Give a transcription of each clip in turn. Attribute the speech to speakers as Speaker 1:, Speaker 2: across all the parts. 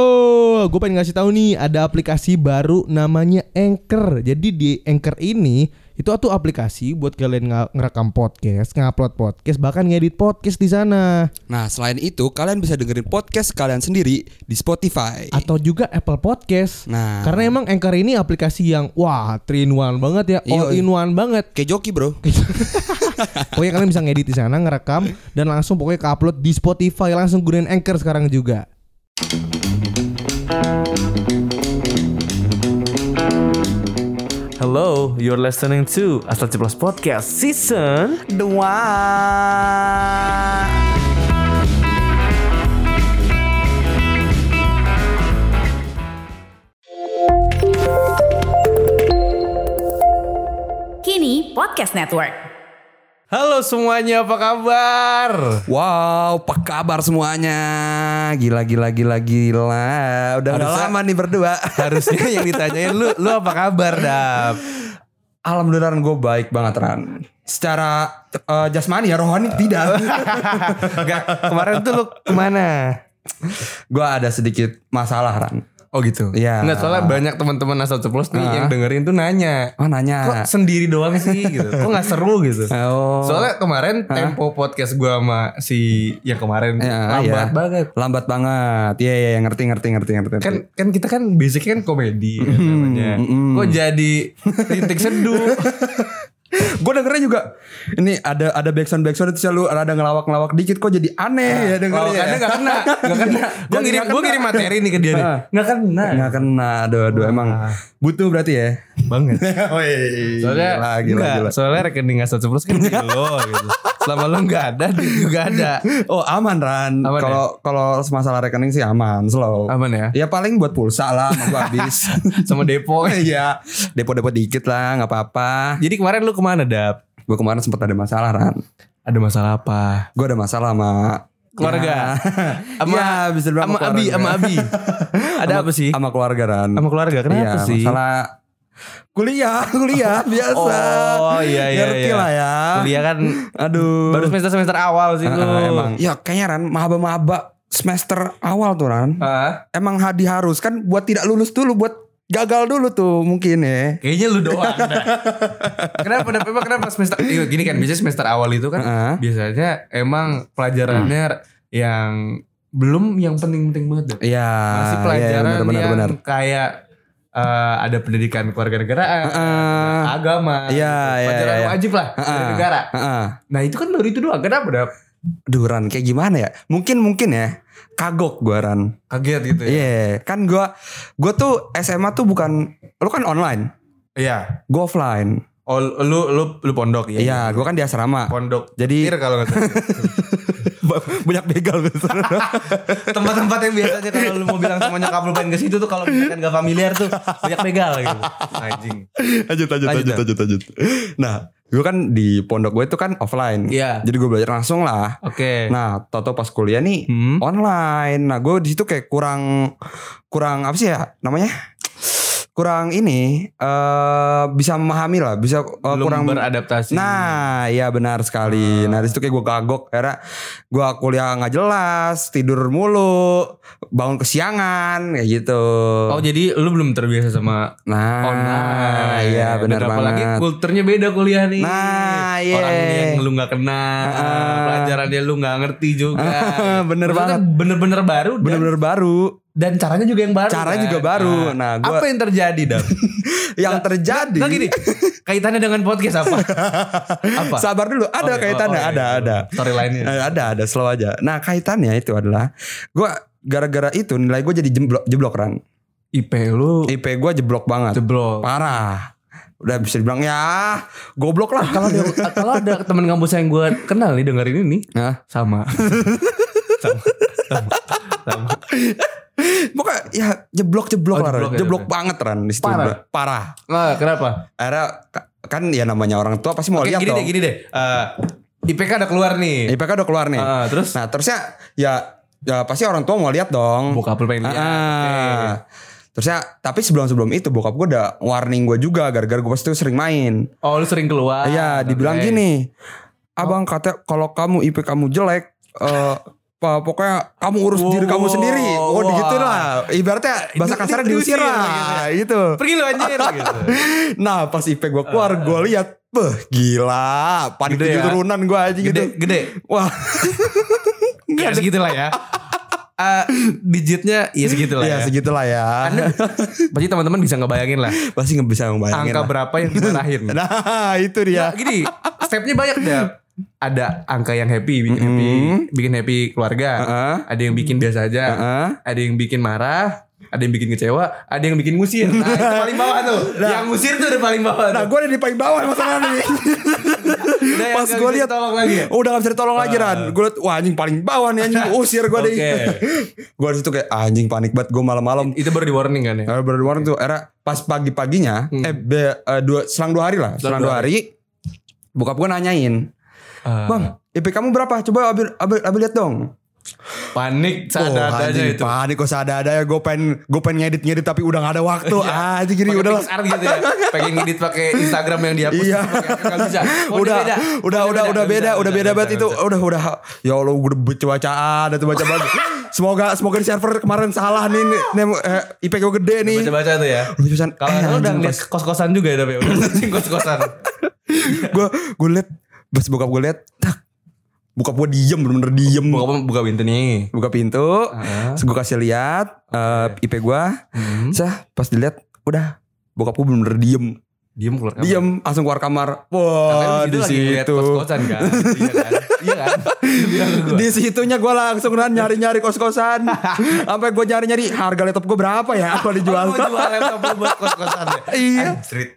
Speaker 1: Halo, gue pengen ngasih tahu nih ada aplikasi baru namanya Anchor. Jadi di Anchor ini itu tuh aplikasi buat kalian nga- ngerekam podcast, ngupload podcast, bahkan ngedit podcast di sana
Speaker 2: Nah, selain itu, kalian bisa dengerin podcast kalian sendiri di Spotify.
Speaker 1: atau juga Apple Podcast.
Speaker 2: Nah.
Speaker 1: karena emang Anchor ini aplikasi yang wah, 3 in one banget ya, all
Speaker 2: Iya.
Speaker 1: in one banget.
Speaker 2: Kayak joki, bro.
Speaker 1: Gitu. pokoknya kalian bisa ngedit di sana, ngerekam dan langsung pokoknya upload di Spotify langsung gunain Anchor sekarang juga.
Speaker 3: Hello, you're listening to Asal Ceplos Podcast Season
Speaker 4: Kini Podcast Network.
Speaker 3: Halo semuanya, apa kabar?
Speaker 2: Wow, apa kabar semuanya? Gila, gila, gila, gila. Udah nggak
Speaker 3: Harusnya-
Speaker 2: lama nih berdua.
Speaker 3: Harusnya yang ditanyain lu, lu apa kabar, Dap?
Speaker 2: Alhamdulillah gue baik banget, Ran. Secara eh, jasmani ya, rohani tidak.
Speaker 3: Enggak, kemarin tuh lu kemana?
Speaker 2: gue ada sedikit masalah, Ran.
Speaker 3: Oh gitu.
Speaker 2: Iya.
Speaker 3: Nggak, soalnya banyak teman-teman Asal Ceplos nih yang dengerin tuh nanya.
Speaker 2: Oh, nanya.
Speaker 3: Kok sendiri doang sih gitu? Kok nggak seru gitu?
Speaker 2: Oh.
Speaker 3: Soalnya kemarin tempo podcast gua sama si yang kemarin
Speaker 2: Ya,
Speaker 3: lambat
Speaker 2: iya.
Speaker 3: banget.
Speaker 2: Lambat banget. Iya, iya, ngerti, ngerti, ngerti, ngerti.
Speaker 3: kan kan kita kan basicnya kan komedi ya,
Speaker 2: Mm-hmm,
Speaker 3: namanya. Kok jadi titik seduh?
Speaker 2: gue dengernya juga ini ada ada backsound backsound itu selalu ada ngelawak ngelawak dikit kok jadi aneh ya dengernya
Speaker 3: Lawakannya nggak kena, nggak kena. Gue
Speaker 2: Jadi kan
Speaker 3: ngirim
Speaker 2: nggak
Speaker 3: gue
Speaker 2: kena.
Speaker 3: ngirim materi nih ke dia nih.
Speaker 2: Ah.
Speaker 3: Nggak kena.
Speaker 2: nggak kena Ah. aduh aduh emang butuh berarti ya
Speaker 3: Banget.
Speaker 2: Oh, Woi,
Speaker 3: Soalnya
Speaker 2: iya, gila, gila,
Speaker 3: nggak,
Speaker 2: gila.
Speaker 3: soalnya rekening asal ceplos kan di lo gitu. Selama lo nggak ada, dia juga ada.
Speaker 2: oh aman Ran
Speaker 3: Aman
Speaker 2: kalau kalau masalah rekening sih aman slow
Speaker 3: Aman ya?
Speaker 2: ya paling buat pulsa lah mau gua habis
Speaker 3: Sama depo.
Speaker 2: Iya, depo-depo dikit lah, nggak apa-apa.
Speaker 3: Jadi kemarin lu kemana Dap?
Speaker 2: Gue kemarin sempat ada masalah, Ran.
Speaker 3: Ada masalah apa?
Speaker 2: Gue ada masalah sama
Speaker 3: Keluarga?
Speaker 2: Ya,
Speaker 3: Sama-
Speaker 2: Iya, bisa dibilang
Speaker 3: Sama Abi,
Speaker 2: keluarga.
Speaker 3: sama Abi. Ada apa sih?
Speaker 2: Sama keluarga, Ran.
Speaker 3: Sama keluarga
Speaker 2: Iya,
Speaker 3: kenapa sih?
Speaker 2: Masalah kuliah, kuliah biasa.
Speaker 3: Oh iya iya
Speaker 2: Ngerti
Speaker 3: iya.
Speaker 2: lah ya.
Speaker 3: Kuliah kan
Speaker 2: Aduh.
Speaker 3: baru semester semester awal sih
Speaker 2: Ah,
Speaker 3: lu.
Speaker 2: ah, emang. Ya kayaknya Ran, maba-maba semester awal tuh Ran.
Speaker 3: Ah.
Speaker 2: Emang hadi harus kan buat tidak lulus dulu, buat gagal dulu tuh mungkin ya.
Speaker 3: Kayaknya lu doang. dah. kenapa? Kenapa? Emang Kenapa semester? Iya, gini kan biasanya semester awal itu kan
Speaker 2: Heeh.
Speaker 3: biasanya emang pelajarannya yang belum yang penting-penting banget. dah.
Speaker 2: Iya.
Speaker 3: Masih
Speaker 2: iya,
Speaker 3: pelajaran
Speaker 2: benar, benar,
Speaker 3: yang
Speaker 2: benar.
Speaker 3: kayak eh, ada pendidikan kewarganegaraan, Ah.
Speaker 2: Heeh.
Speaker 3: agama, gitu.
Speaker 2: Iya, iya,
Speaker 3: pelajaran
Speaker 2: iya.
Speaker 3: wajib lah
Speaker 2: Heeh.
Speaker 3: dari negara.
Speaker 2: Heeh.
Speaker 3: Nah itu kan baru itu doang. Kenapa udah
Speaker 2: Duh, Ran, kayak gimana ya? Mungkin mungkin ya. Kagok gue Ran.
Speaker 3: kaget gitu?
Speaker 2: Iya,
Speaker 3: ya?
Speaker 2: kan gue gue tuh SMA tuh bukan lu kan online,
Speaker 3: Iya.
Speaker 2: gue offline.
Speaker 3: Oh, lu lu lu pondok ya?
Speaker 2: Iya, gue kan di asrama.
Speaker 3: Pondok.
Speaker 2: Jadi-
Speaker 3: Tir kalau nggak salah.
Speaker 2: banyak begal gue
Speaker 3: tempat-tempat yang biasanya kalau lu mau bilang sama nyokap lu pengen ke situ tuh kalau misalkan gak familiar tuh banyak begal gitu. Anjing.
Speaker 2: lanjut, lanjut,
Speaker 3: Lanjut,
Speaker 2: lanjut, lanjut, lanjut. Nah, gue kan di pondok gue itu kan offline.
Speaker 3: Iya.
Speaker 2: Jadi gue belajar langsung lah.
Speaker 3: Oke.
Speaker 2: Nah, toto pas kuliah nih
Speaker 3: Hmm.
Speaker 2: online. Nah, gue di situ kayak kurang kurang apa sih ya namanya? Kurang ini eh bisa memahami lah, bisa eh,
Speaker 3: Belum
Speaker 2: kurang
Speaker 3: beradaptasi.
Speaker 2: Nah, iya benar sekali.
Speaker 3: Ah.
Speaker 2: Nah, di situ kayak gue kagok karena gue kuliah nggak jelas, tidur mulu, bangun kesiangan kayak gitu.
Speaker 3: Oh jadi lu belum terbiasa sama
Speaker 2: Nah,
Speaker 3: online.
Speaker 2: iya benar
Speaker 3: Dan Apalagi
Speaker 2: banget.
Speaker 3: kulturnya beda kuliah nih.
Speaker 2: Nah, iya. Ah.
Speaker 3: Orang yang lu gak kenal, pelajarannya lu gak ngerti juga.
Speaker 2: Bener
Speaker 3: Maksudnya
Speaker 2: banget.
Speaker 3: Bener-bener baru dan,
Speaker 2: Bener-bener baru.
Speaker 3: dan caranya juga yang baru.
Speaker 2: Caranya
Speaker 3: kan?
Speaker 2: juga baru. Nah, gua-
Speaker 3: apa yang terjadi, Dam?
Speaker 2: Yang terjadi.
Speaker 3: Nah gini, kaitannya dengan podcast apa? apa?
Speaker 2: Sabar dulu, ada
Speaker 3: Oke,
Speaker 2: kaitannya,
Speaker 3: oh, oh,
Speaker 2: ada,
Speaker 3: iya.
Speaker 2: ada.
Speaker 3: Storyline-nya.
Speaker 2: Eh, Ada, ada, slow aja. Nah, kaitannya itu adalah gue gara-gara itu nilai gue jadi jeblok, jeblok ran.
Speaker 3: IP lu
Speaker 2: IP gue jeblok banget.
Speaker 3: jeblok.
Speaker 2: Parah. Udah bisa dibilang ya goblok lah
Speaker 3: Kalau ada, kalau ada teman kampus yang gue kenal nih dengerin ini nih,
Speaker 2: Hah?
Speaker 3: sama. sama. Sama. Sama.
Speaker 2: Pokoknya ya jeblok-jeblok
Speaker 3: Oh,
Speaker 2: lah. Ran.
Speaker 3: jeblok
Speaker 2: Jeblok,
Speaker 3: ya,
Speaker 2: banget Ran di situ.
Speaker 3: Parah.
Speaker 2: Bro. Parah.
Speaker 3: Nah, kenapa?
Speaker 2: Akhirnya ka- kan ya namanya orang tua pasti mau
Speaker 3: Oke,
Speaker 2: lihat
Speaker 3: gini deh,
Speaker 2: dong.
Speaker 3: gini deh. Eh, IPK udah keluar nih.
Speaker 2: IPK udah keluar nih.
Speaker 3: Ah, terus
Speaker 2: Nah, terusnya ya ya pasti orang tua mau lihat dong.
Speaker 3: Nah, bokap lu pengen
Speaker 2: Ah,
Speaker 3: lihat.
Speaker 2: ah. Terusnya tapi sebelum-sebelum itu bokap gue udah warning gue juga gara-gara gue pasti sering main.
Speaker 3: Eh, Oh, lu sering keluar.
Speaker 2: Iya, dibilang
Speaker 3: Oke. Oh.
Speaker 2: gini. Abang kata kalau kamu IP kamu jelek eh pa- pokoknya kamu urus
Speaker 3: Wow,
Speaker 2: diri kamu sendiri. Oh,
Speaker 3: wow.
Speaker 2: digituin lah. ibaratnya bahasa kasarnya
Speaker 3: Diusir
Speaker 2: diusir
Speaker 3: ya.
Speaker 2: lah gitu.
Speaker 3: Pergi lu anjir gitu.
Speaker 2: Nah pas IP gue keluar gue lihat Beh gila Panik
Speaker 3: Eh. Gede
Speaker 2: tujuh
Speaker 3: ya?
Speaker 2: turunan gue aja
Speaker 3: Gede,
Speaker 2: gitu
Speaker 3: gede.
Speaker 2: Wah
Speaker 3: Ya segitulah ya. Ah, digitnya ya segitulah
Speaker 2: ya
Speaker 3: ya.
Speaker 2: segitulah ya
Speaker 3: Anda pasti teman-teman bisa ngebayangin lah
Speaker 2: Pasti nggak bisa ngebayangin
Speaker 3: angka
Speaker 2: lah.
Speaker 3: berapa yang dimarahin.
Speaker 2: Nah itu
Speaker 3: Nah,
Speaker 2: dia
Speaker 3: gini, stepnya banyak deh. Ada angka yang happy, bikin happy, bikin happy keluarga.
Speaker 2: Heeh.
Speaker 3: Ada yang bikin biasa aja.
Speaker 2: Heeh.
Speaker 3: Ada yang bikin marah, ada yang bikin kecewa, ada yang bikin ngusir. Nah, itu paling bawah tuh. yang ngusir tuh udah paling bawah.
Speaker 2: Nah
Speaker 3: tuh.
Speaker 2: gue ada di paling bawah masalah nih
Speaker 3: Udah, yang
Speaker 2: Pas
Speaker 3: nggak
Speaker 2: gue
Speaker 3: bisa
Speaker 2: lihat
Speaker 3: tolong lagi. ya?
Speaker 2: Oh, udah gak bisa ditolong lagi Ran Gue liat Wah anjing paling bawah nih anjing Usir gue deh
Speaker 3: Oke.
Speaker 2: Gue disitu kayak Anjing panik banget Gue malam-malam
Speaker 3: Itu baru di warning kan ya.
Speaker 2: Era berwarna tuh era pas pagi-paginya
Speaker 3: Hmm.
Speaker 2: eh be- eh, dua selang dua hari lah, selang, dua hari, bokap gue nanyain,
Speaker 3: Ah.
Speaker 2: "Bang, IP kamu berapa? Coba abi abi, abi lihat dong."
Speaker 3: Panik
Speaker 2: Oh,
Speaker 3: sadar-sadarnya
Speaker 2: anjing,
Speaker 3: itu.
Speaker 2: Panik kok ada ya gue pengen gue pengen ngedit-ngedit tapi udah gak ada waktu.
Speaker 3: Iya.
Speaker 2: ah, jadi gini
Speaker 3: Pakai
Speaker 2: udah lah.
Speaker 3: PixArt gitu ya. Pengen ngedit pakai Instagram yang dihapus.
Speaker 2: Iya.
Speaker 3: pakai apa, nggak bisa. Oh, ini
Speaker 2: udah,
Speaker 3: beda.
Speaker 2: udah,
Speaker 3: Oh, ini
Speaker 2: udah, udah
Speaker 3: nggak
Speaker 2: beda,
Speaker 3: bisa,
Speaker 2: udah
Speaker 3: nggak
Speaker 2: beda
Speaker 3: bisa,
Speaker 2: banget
Speaker 3: nggak
Speaker 2: itu,
Speaker 3: bisa.
Speaker 2: udah, udah, ya Allah, udah bacaan, udah baca banget. Semoga, semoga di server kemarin salah nih, nih, nih, eh, IP gue gede nih.
Speaker 3: Baca-baca tuh ya.
Speaker 2: Udah bacaan,
Speaker 3: Kalau
Speaker 2: eh,
Speaker 3: lu udah
Speaker 2: anjing,
Speaker 3: ngeliat kos-kosan juga ya tapi udah searching kos-kosan.
Speaker 2: gue gue liat pas bokap gue liat tak bokap gue diem bener-bener diem
Speaker 3: Buka buka pintu nih.
Speaker 2: buka pintu terus gue kasih lihat eh, IP gue
Speaker 3: Hmm.
Speaker 2: sah pas dilihat udah bokap gue bener-bener diem
Speaker 3: Diem keluar kamar.
Speaker 2: diem langsung keluar kamar wah
Speaker 3: Karena
Speaker 2: di
Speaker 3: lu gitu lagi ngeliat
Speaker 2: situ
Speaker 3: Kos-kosan kan. Iya kan? Iya kan? Iya kan?
Speaker 2: di situnya gue langsung kan nyari-nyari kos-kosan sampai gue nyari-nyari harga laptop gue berapa ya kalau dijual
Speaker 3: Lu jual laptop lu buat kos-kosan ya.
Speaker 2: iya
Speaker 3: Street.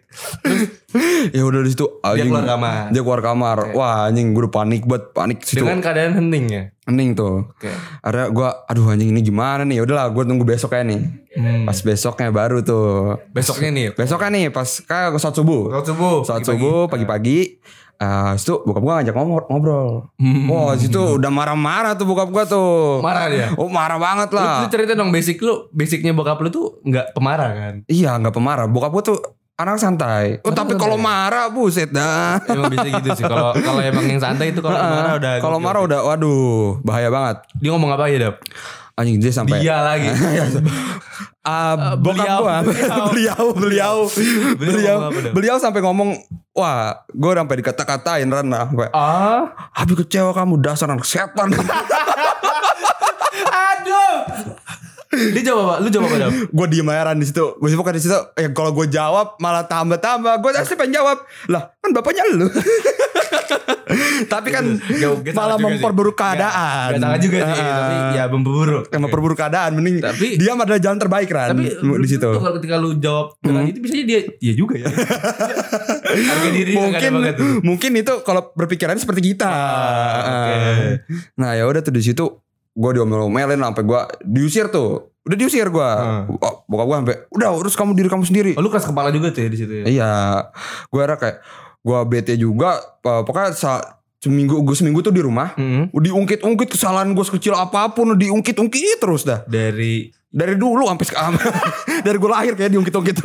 Speaker 2: ya udah di situ anjing.
Speaker 3: keluar kamar.
Speaker 2: dia keluar kamar wah anjing gue udah panik banget panik situ
Speaker 3: Dengan keadaan hening ya.
Speaker 2: Hening tuh.
Speaker 3: Oke.
Speaker 2: Ada gua aduh anjing ini gimana nih? Ya Udahlah gua tunggu besoknya nih.
Speaker 3: Hmm.
Speaker 2: Pas besoknya baru tuh.
Speaker 3: Besoknya nih.
Speaker 2: Besoknya kan nih pas kayak saat subuh.
Speaker 3: Saat subuh,
Speaker 2: Saat
Speaker 3: pagi-pagi. Iya.
Speaker 2: subuh pagi-pagi. Eh situ bokap gua ngajak ngomor- ngobrol. Wah, situ udah marah-marah tuh bokap gua tuh.
Speaker 3: Hmm. Marah dia?
Speaker 2: Oh, marah banget
Speaker 3: Lu,
Speaker 2: lah.
Speaker 3: lu cerita dong basic lu, basicnya bokap lu tuh nggak pemarah kan?
Speaker 2: Iya, nggak pemarah. Bokap gua tuh anak santai. Oh, tapi kalau marah buset dah.
Speaker 3: Emang bisa gitu sih. Kalau kalau emang yang santai itu kalau marah udah.
Speaker 2: Ah,
Speaker 3: gitu.
Speaker 2: Kalau marah udah waduh, bahaya banget.
Speaker 3: dia ngomong apa aja dap?
Speaker 2: Anjing dia sampai
Speaker 3: Dia lagi.
Speaker 2: Iya, Ah, bokap
Speaker 3: Eh, beliau.
Speaker 2: gua. beliau, beliau, beliau,
Speaker 3: Beliau
Speaker 2: beliau,
Speaker 3: ngomong apa dong?
Speaker 2: sampai ngomong, wah, gue sampai dikata-katain Rana, sampai,
Speaker 3: ah,
Speaker 2: habis kecewa kamu dasar anak setan.
Speaker 3: aduh. Dia jawab apa? Lu jawab apa dap?
Speaker 2: gue diem aja Ran di situ, gue sih bukan di situ. Ya kalau gue jawab malah tambah-tambah, gue pasti pengen jawab, lah kan bapaknya lu. Tapi kan
Speaker 3: Gak- gak salah
Speaker 2: malah
Speaker 3: juga sih.
Speaker 2: memperburuk
Speaker 3: Gak-
Speaker 2: keadaan.
Speaker 3: Gak salah juga sih,
Speaker 2: Ah,
Speaker 3: tapi ya memperburuk.
Speaker 2: yang memperburuk keadaan, mending
Speaker 3: Tapi-
Speaker 2: diam adalah jalan terbaik Ran
Speaker 3: Tapi
Speaker 2: Kan di situ. Hmm.
Speaker 3: tuh Iya, Kalau ketika lu jawab dengan itu biasanya dia iya juga ya. Harga diri kan gitu.
Speaker 2: mungkin mungkin itu kalau berpikirannya seperti kita.
Speaker 3: Ah, oke.
Speaker 2: Nah, ya udah tuh di situ gua diomel-omelin sampai gua diusir tuh. Udah diusir gua. Oh, Bokap gua sampai udah urus kamu diri kamu sendiri.
Speaker 3: Oh, lu keras kepala juga tuh ya di situ ya.
Speaker 2: Iya. Gua era kayak gua bete juga eh, pokoknya sa- seminggu gua seminggu tuh di rumah
Speaker 3: Mm-mm.
Speaker 2: diungkit-ungkit kesalahan gua sekecil apapun diungkit-ungkit terus dah
Speaker 3: Dari
Speaker 2: dari dulu sampai sekarang dari gua lahir kayak diungkit-ungkit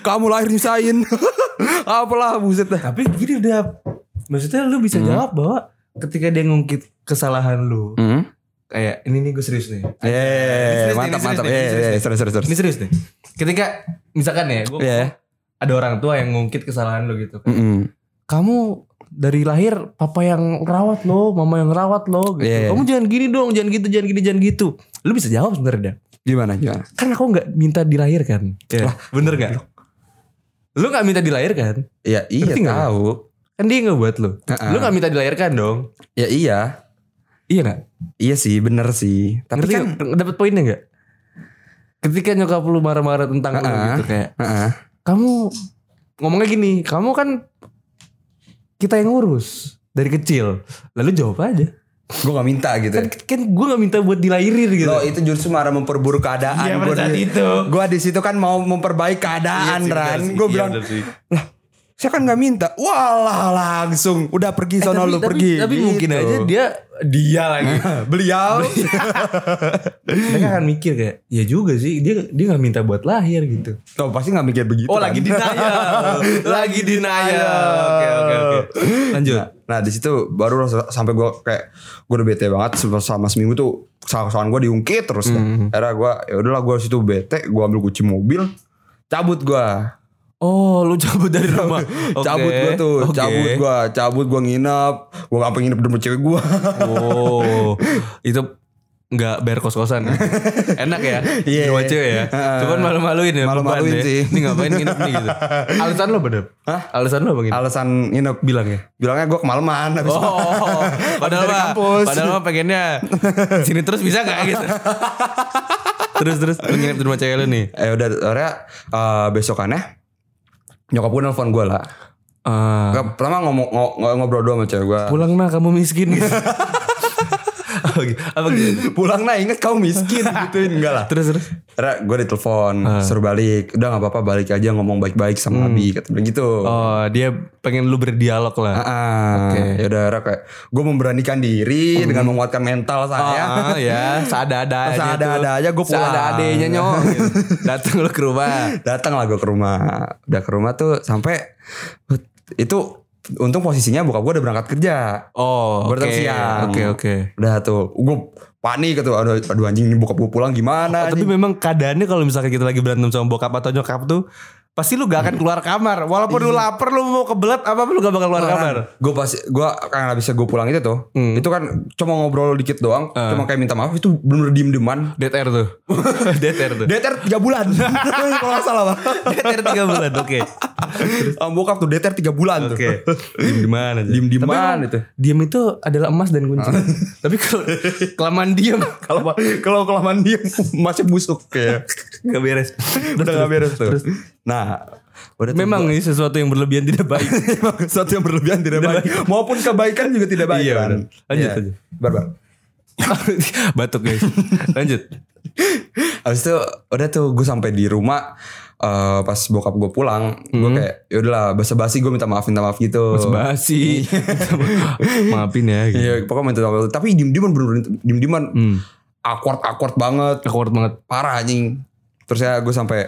Speaker 2: kamu lahir nyusahin apalah buset dah
Speaker 3: tapi gini udah maksudnya lu bisa jawab bahwa ketika dia ngungkit kesalahan lu
Speaker 2: Hmm.
Speaker 3: kayak ini nih gue serius nih
Speaker 2: Eh, mantap mantap. Eh, serius serius serius.
Speaker 3: ini serius nih ketika misalkan ya gue
Speaker 2: Iya. Hmm.
Speaker 3: ada orang tua yang ngungkit kesalahan lu gitu kan.
Speaker 2: Mm-mm.
Speaker 3: kamu dari lahir papa yang rawat lo mama yang rawat lo gitu
Speaker 2: Iya.
Speaker 3: kamu jangan gini dong jangan gitu jangan gini jangan gitu lu bisa jawab sebenarnya
Speaker 2: Gimana gimana?
Speaker 3: kan aku nggak minta dilahirkan Iya. bener nggak lu nggak minta dilahirkan
Speaker 2: Ya iya
Speaker 3: Ngerti nggak?
Speaker 2: tahu.
Speaker 3: kan dia nggak buat lu
Speaker 2: Heeh.
Speaker 3: lu nggak minta dilahirkan dong
Speaker 2: Ya iya.
Speaker 3: iya nggak
Speaker 2: Iya sih, bener sih. Tapi
Speaker 3: Ngerti
Speaker 2: kan
Speaker 3: nggak? dapat poinnya nggak? Ketika nyokap lu marah-marah tentang lu
Speaker 2: Heeh.
Speaker 3: gitu kayak
Speaker 2: Heeh.
Speaker 3: kamu ngomongnya gini, kamu kan kita yang ngurus dari kecil. Lalu jawab aja.
Speaker 2: gue gak minta gitu.
Speaker 3: Kan, kan gue nggak minta buat dilahirin gitu.
Speaker 2: Lo itu justru marah memperburuk keadaan.
Speaker 3: Iya, pada
Speaker 2: Gua
Speaker 3: saat
Speaker 2: di-
Speaker 3: itu. Iya
Speaker 2: Gua di situ kan mau memperbaiki keadaan, Ran. Gue bilang, saya kan gak minta. Walah langsung, udah pergi
Speaker 3: Eh,
Speaker 2: sono
Speaker 3: tapi-
Speaker 2: lu
Speaker 3: tapi-
Speaker 2: pergi.
Speaker 3: Tapi mungkin
Speaker 2: Gitu.
Speaker 3: aja dia dia lagi.
Speaker 2: beliau.
Speaker 3: Mereka akan mikir kayak, ya juga sih, dia dia nggak minta buat lahir gitu.
Speaker 2: Tuh pasti gak mikir begitu. kan.
Speaker 3: Oh lagi
Speaker 2: Ran.
Speaker 3: denial Lagi denial Oke oke oke Lanjut
Speaker 2: Nah di situ baru rasa- sampai gue kayak gue udah bete banget Sel- selama seminggu tuh kesalahan gue diungkit terus. Kan.
Speaker 3: Hmm.
Speaker 2: Akhirnya gue ya udahlah gue situ bete, gue ambil kunci mobil, cabut gue,
Speaker 3: Oh, lu cabut dari rumah.
Speaker 2: cabut gue tuh, cabut gue, cabut gue nginep, gue gak pengen nginep demi cewek gue.
Speaker 3: Oh, itu nggak bayar kos-kosan. ya? Enak ya,
Speaker 2: Iya.
Speaker 3: di rumah cewek ya. Cuman malu-maluin ya.
Speaker 2: Malu-maluin
Speaker 3: beban ya.
Speaker 2: sih.
Speaker 3: Ini ngapain nginep nih gitu. Alasan lo bener?
Speaker 2: Hah?
Speaker 3: Alasan lo apa gitu?
Speaker 2: Alasan nginep
Speaker 3: Bilang ya.
Speaker 2: bilangnya gue kemalaman habis
Speaker 3: Oh, padahal
Speaker 2: dari
Speaker 3: mah,
Speaker 2: kampus.
Speaker 3: padahal mah pengennya sini terus bisa nggak gitu? terus terus lu nginep di rumah cewek lu nih.
Speaker 2: Eh udah akhirnya eh, besokannya nyokap gue nelfon gue lah.
Speaker 3: Eh,
Speaker 2: Nggak, pertama ngomong ngo- ngo- ngobrol doang sama cewek gue.
Speaker 3: pulang nah kamu miskin. gitu. apa gitu? Apa gitu?
Speaker 2: Pulang nah inget kau miskin gituin enggak lah.
Speaker 3: Terus terus.
Speaker 2: Akhirnya gue ditelepon
Speaker 3: Ah.
Speaker 2: suruh balik. Udah nggak apa-apa balik aja ngomong baik-baik sama Abi kata dia gitu.
Speaker 3: Hmm. Oh, dia pengen lu berdialog lah.
Speaker 2: Ah, ya udah akhirnya kayak gue memberanikan diri dengan menguatkan mental saya.
Speaker 3: Hmm. Ah, ya, seada-ada aja.
Speaker 2: Seada-ada aja gua pulang.
Speaker 3: Seada-adanya nyok. gitu. Datang lu ke rumah.
Speaker 2: Datang lah gue ke rumah. Udah ke rumah tuh sampai itu untung posisinya bokap gue udah berangkat kerja.
Speaker 3: Oh,
Speaker 2: Baru
Speaker 3: oke.
Speaker 2: datang siang.
Speaker 3: Oke, oke.
Speaker 2: Udah tuh, gue panik gitu. Aduh, aduh anjing ini bokap gue pulang gimana?
Speaker 3: Oh, Tapi
Speaker 2: anjing.
Speaker 3: memang keadaannya kalau misalkan kita lagi berantem sama bokap atau nyokap tuh pasti lu gak akan keluar kamar. Walaupun lu lapar, lu mau kebelet apa apa, lu gak bakal Iya. keluar kamar.
Speaker 2: Gue pas gue kan habis gue pulang itu tuh,
Speaker 3: Hmm.
Speaker 2: itu kan cuma ngobrol dikit doang, cuma kayak minta maaf itu bener diem deman.
Speaker 3: Ah. Dead air tuh. Dead air tuh.
Speaker 2: Deter 3 bulan. Kalau nggak salah, Bang.
Speaker 3: Dead air 3 bulan, oke.
Speaker 2: Sama Oh, bokap tuh deter 3 bulan tuh.
Speaker 3: Oke. Diem di mana aja.
Speaker 2: Diem dieman
Speaker 3: Tapi
Speaker 2: itu.
Speaker 3: Diem itu Ah. adalah emas dan kunci. Tapi kalau kelamaan diem
Speaker 2: Kalau kalau kelamaan dia masih busuk kayak.
Speaker 3: gak beres.
Speaker 2: udah nggak beres tuh. Nah, udah tuh
Speaker 3: Memang ini sesuatu yang berlebihan tidak baik.
Speaker 2: Emang sesuatu yang berlebihan tidak baik. Maupun kebaikan juga tidak baik.
Speaker 3: Iya,
Speaker 2: kan?
Speaker 3: benar. Lanjut,
Speaker 2: Iya.
Speaker 3: lanjut.
Speaker 2: Barbar.
Speaker 3: Batuk guys. Lanjut.
Speaker 2: Habis itu udah tuh gue sampai di rumah eh, pas bokap gue pulang, gue
Speaker 3: Hmm.
Speaker 2: kayak ya udahlah basa-basi gue minta maaf minta maaf gitu.
Speaker 3: Basi. Maafin ya. Gitu.
Speaker 2: Iya, pokoknya minta maaf. Tapi diem-dieman bener-bener diem-dieman. Awkward awkward banget,
Speaker 3: Hmm. Awkward banget.
Speaker 2: parah anjing. Terus ya gue sampai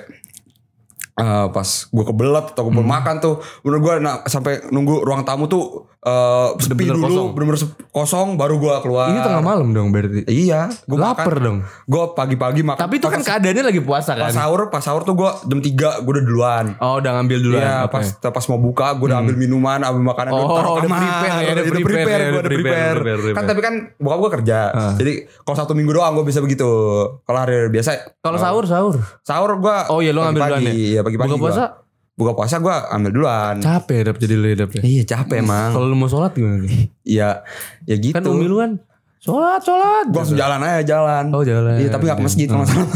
Speaker 2: eh, pas gue kebelet atau gue
Speaker 3: Hmm.
Speaker 2: makan tuh, menurut gue nah, sampai nunggu ruang tamu tuh eh sepi
Speaker 3: Bener-bener
Speaker 2: dulu,
Speaker 3: kosong.
Speaker 2: bener-bener sep- kosong, baru gue keluar.
Speaker 3: Ini tengah malam dong berarti.
Speaker 2: Iya, gue
Speaker 3: Laper dong.
Speaker 2: Gue pagi-pagi makan.
Speaker 3: Tapi itu
Speaker 2: pas-
Speaker 3: kan keadaannya lagi puasa
Speaker 2: pas
Speaker 3: kan.
Speaker 2: sahur, pas sahur tuh gue jam 3 gue udah duluan.
Speaker 3: Oh udah ngambil dulu
Speaker 2: Iya, pas pas mau buka gue udah ambil minuman, ambil makanan,
Speaker 3: Hmm. Oh,
Speaker 2: gua taruh
Speaker 3: udah
Speaker 2: kamar.
Speaker 3: prepare ya, udah
Speaker 2: udah prepare,
Speaker 3: prepare ya,
Speaker 2: gue
Speaker 3: udah
Speaker 2: udah
Speaker 3: prepare,
Speaker 2: prepare.
Speaker 3: prepare, Hmm.
Speaker 2: Kan
Speaker 3: prepare.
Speaker 2: tapi kan bokap gue kerja, jadi kalau satu minggu doang gue bisa begitu. Kalau hari biasa,
Speaker 3: Kalau sahur sahur.
Speaker 2: sahur gue,
Speaker 3: Oh, iya, lu ngambil duluan ya?
Speaker 2: Iya pagi-pagi.
Speaker 3: Buka
Speaker 2: gua.
Speaker 3: puasa?
Speaker 2: buka puasa gue ambil duluan.
Speaker 3: Capek dap jadi lu dap.
Speaker 2: Iya capek emang.
Speaker 3: Kalau lu mau sholat gimana? nih?
Speaker 2: Iya, ya gitu.
Speaker 3: Kan umi lu kan sholat sholat.
Speaker 2: gue langsung jalan aja jalan.
Speaker 3: Oh, jalan. Hmm.
Speaker 2: Iya tapi gak ke masjid kalau nggak salah.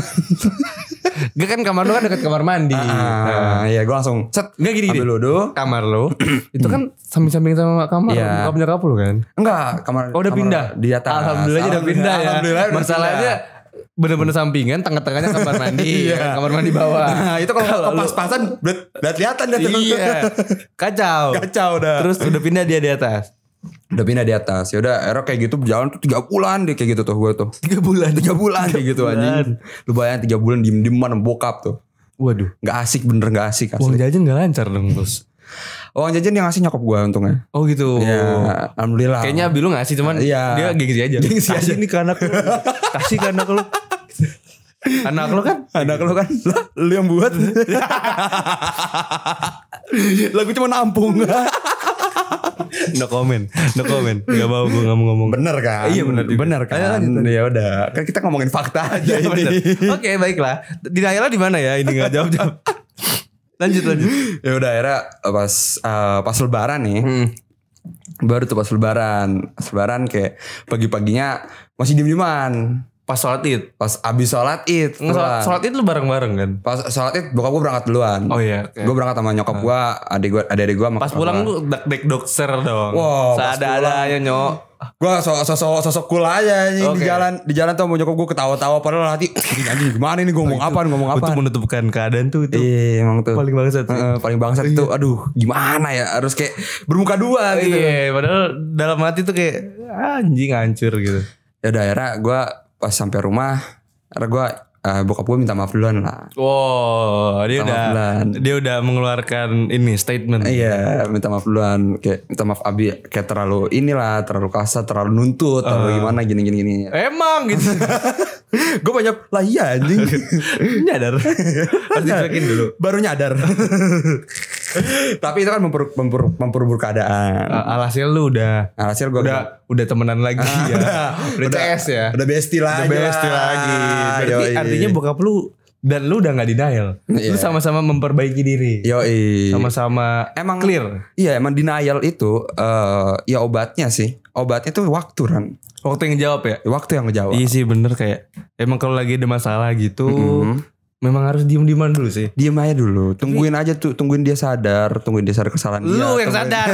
Speaker 3: Gak kan kamar lu kan dekat kamar mandi. Nah.
Speaker 2: Ah, Iya gue langsung set
Speaker 3: Nggak gini,
Speaker 2: ambil
Speaker 3: gini.
Speaker 2: wudhu.
Speaker 3: Kamar lu itu kan samping-samping sama kamar
Speaker 2: Iya.
Speaker 3: nyokap nyokap lu kan.
Speaker 2: Enggak, kamar
Speaker 3: Oh udah
Speaker 2: kamar
Speaker 3: pindah
Speaker 2: Di atas.
Speaker 3: Alhamdulillah udah pindah ya
Speaker 2: Alhamdulillah udah
Speaker 3: Masalahnya
Speaker 2: pindah.
Speaker 3: bener-bener sampingan Tengah-tengahnya kamar mandi
Speaker 2: Iya.
Speaker 3: Kamar mandi bawah
Speaker 2: Nah, itu kalau
Speaker 3: Kalau lu-
Speaker 2: pas-pasan udah udah kelihatan dah tuh.
Speaker 3: Iya Kacau
Speaker 2: Kacau udah.
Speaker 3: Terus udah pindah dia di atas
Speaker 2: udah pindah di atas. Ya udah, era kayak gitu berjalan tuh 3 bulan deh kayak gitu tuh gue tuh. 3 bulan. 3 bulan kayak gitu
Speaker 3: bulan.
Speaker 2: anjing. Lu bayangin 3 bulan diem-dieman sama bokap tuh.
Speaker 3: Waduh
Speaker 2: Gak asik bener gak asik
Speaker 3: Uang
Speaker 2: asli.
Speaker 3: jajan gak lancar dong bos
Speaker 2: Uang jajan yang ngasih nyokap gue untungnya.
Speaker 3: Oh gitu
Speaker 2: Ya, alhamdulillah.
Speaker 3: Kayaknya Abi lu ngasih cuman
Speaker 2: Iya.
Speaker 3: dia gengsi aja.
Speaker 2: Gengsi aja.
Speaker 3: Kasih nih ke anak lu. Kasih ke anak lu. anak lu kan
Speaker 2: anak lu kan lah, lu yang buat. Lagu cuma nampung.
Speaker 3: no comment. No comment. Gak mau gue gak mau ngomong.
Speaker 2: bener kan?
Speaker 3: Iya, bener juga.
Speaker 2: Bener
Speaker 3: Ayo,
Speaker 2: kan?
Speaker 3: lanjut,
Speaker 2: Ya udah, kan kita ngomongin fakta aja
Speaker 3: Iya, bener.
Speaker 2: Ya, ini.
Speaker 3: Oke baiklah. Di Nayla di mana ya? Ini nggak jawab jawab. lanjut lanjut.
Speaker 2: ya udah era pas eh, pas lebaran nih
Speaker 3: Hmm,
Speaker 2: baru tuh pas lebaran Pas lebaran kayak pagi paginya masih diem dieman
Speaker 3: Pas sholat id.
Speaker 2: pas abis sholat id
Speaker 3: Nge- Sholat,
Speaker 2: pulang.
Speaker 3: sholat id lu bareng bareng kan?
Speaker 2: pas sholat id bokap gue berangkat duluan
Speaker 3: Oh iya, oke.
Speaker 2: gue berangkat sama nyokap gue adik gue adik adik gue
Speaker 3: Pas pulang lu dak dek dokser dong.
Speaker 2: Wow, pas
Speaker 3: Seada adanya nyok.
Speaker 2: gue sosok sosok sosok cool aja anjing.
Speaker 3: Oke.
Speaker 2: di jalan di jalan tuh sama nyokap gue ketawa tawa padahal hati "Anjing, anjing gimana ini gue ngomong apa ngomong apa
Speaker 3: Untuk menutupkan keadaan tuh itu.
Speaker 2: Iya emang tuh
Speaker 3: Paling bangsat sih.
Speaker 2: Heeh, paling bangsat itu aduh gimana ya harus kayak bermuka dua gitu
Speaker 3: Iya, padahal dalam hati tuh kayak "Ah, anjing hancur gitu.
Speaker 2: ya daerah gue pas sampai rumah akhirnya gue eh, bokap gue minta maaf duluan lah.
Speaker 3: Wow, dia
Speaker 2: Sama
Speaker 3: udah
Speaker 2: bulan.
Speaker 3: dia udah mengeluarkan ini statement.
Speaker 2: Iya, minta maaf duluan. Kayak minta maaf Abi kayak terlalu inilah, terlalu kasar, terlalu nuntut,
Speaker 3: Ah.
Speaker 2: terlalu gimana gini gini gini.
Speaker 3: Emang gitu.
Speaker 2: gue banyak lah iya anjing. Nah,
Speaker 3: Nyadar. Harus dicuekin dulu.
Speaker 2: Baru nyadar. Tapi itu kan memper, memper, memperburuk keadaan. Nah,
Speaker 3: Al- Alhasil lu udah
Speaker 2: Alhasil gue
Speaker 3: Ah. udah udah temenan lagi ya. Udah CS ya.
Speaker 2: Udah besti lagi.
Speaker 3: Udah besti lagi. Berarti
Speaker 2: Yoi.
Speaker 3: artinya bokap lu dan lu udah nggak denial. Lu
Speaker 2: Iya.
Speaker 3: sama-sama memperbaiki diri.
Speaker 2: Yoi.
Speaker 3: Sama-sama
Speaker 2: Emang
Speaker 3: clear.
Speaker 2: Iya, emang denial itu eh ya obatnya sih. Obatnya tuh waktu kan.
Speaker 3: Waktu yang jawab ya.
Speaker 2: Waktu yang ngejawab.
Speaker 3: Iya sih bener kayak emang kalau lagi ada masalah gitu memang harus diem-dieman dulu sih.
Speaker 2: Diem aja dulu, tungguin aja tuh, tungguin dia sadar, tungguin dia sadar kesalahan dia.
Speaker 3: Lu
Speaker 2: tungguin-
Speaker 3: yang sadar,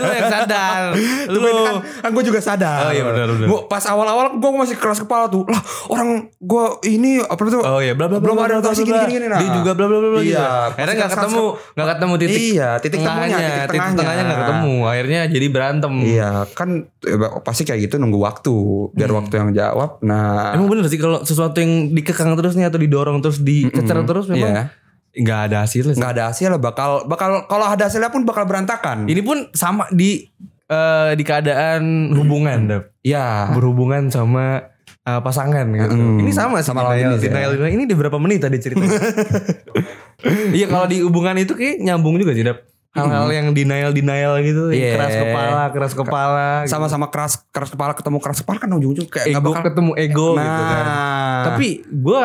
Speaker 3: lu yang sadar. Lu
Speaker 2: Tungguin kan, kan gue juga sadar.
Speaker 3: Oh, iya, benar, benar.
Speaker 2: Gua, pas awal-awal gue masih keras kepala tuh, lah orang gue ini apa tuh?
Speaker 3: Oh iya, bla bla bla
Speaker 2: belum
Speaker 3: bla,
Speaker 2: ada
Speaker 3: bla,
Speaker 2: notasi
Speaker 3: bla,
Speaker 2: gini
Speaker 3: bla.
Speaker 2: gini gini. Nah.
Speaker 3: Dia juga bla bla bla bla
Speaker 2: Iya,
Speaker 3: gitu.
Speaker 2: pasti
Speaker 3: Akhirnya nggak
Speaker 2: kan
Speaker 3: ketemu, nggak ketemu titik.
Speaker 2: Iya, titik temunya,
Speaker 3: tengahnya,
Speaker 2: titik
Speaker 3: titik
Speaker 2: tengahnya.
Speaker 3: tengahnya nggak ketemu. Akhirnya jadi berantem.
Speaker 2: Iya, kan eh, pasti kayak gitu nunggu waktu biar
Speaker 3: Hmm.
Speaker 2: waktu yang jawab. Nah,
Speaker 3: Emang bener sih kalau sesuatu yang dikekang terus nih atau didorong terus dicecer terus
Speaker 2: Iya.
Speaker 3: memang nggak ada hasilnya. sih.
Speaker 2: nggak ada hasil bakal bakal kalau ada hasilnya pun bakal berantakan.
Speaker 3: Ini pun sama di eh, di keadaan hubungan, Dap.
Speaker 2: Iya.
Speaker 3: berhubungan sama eh, pasangan gitu. Ini sama sih
Speaker 2: Sama
Speaker 3: denial,
Speaker 2: lawannya sih, ya.
Speaker 3: denial, denial. Ini di berapa menit tadi ceritanya? Iya kalau di hubungan itu kayak nyambung juga sih, Dap. Hal-hal yang denial-denial gitu,
Speaker 2: Iya.
Speaker 3: yang keras kepala, keras kepala, gitu.
Speaker 2: Sama-sama keras keras kepala ketemu keras kepala kan ujung-ujung kayak nggak
Speaker 3: ego
Speaker 2: bakal Nah.
Speaker 3: ketemu ego gitu kan. Tapi gue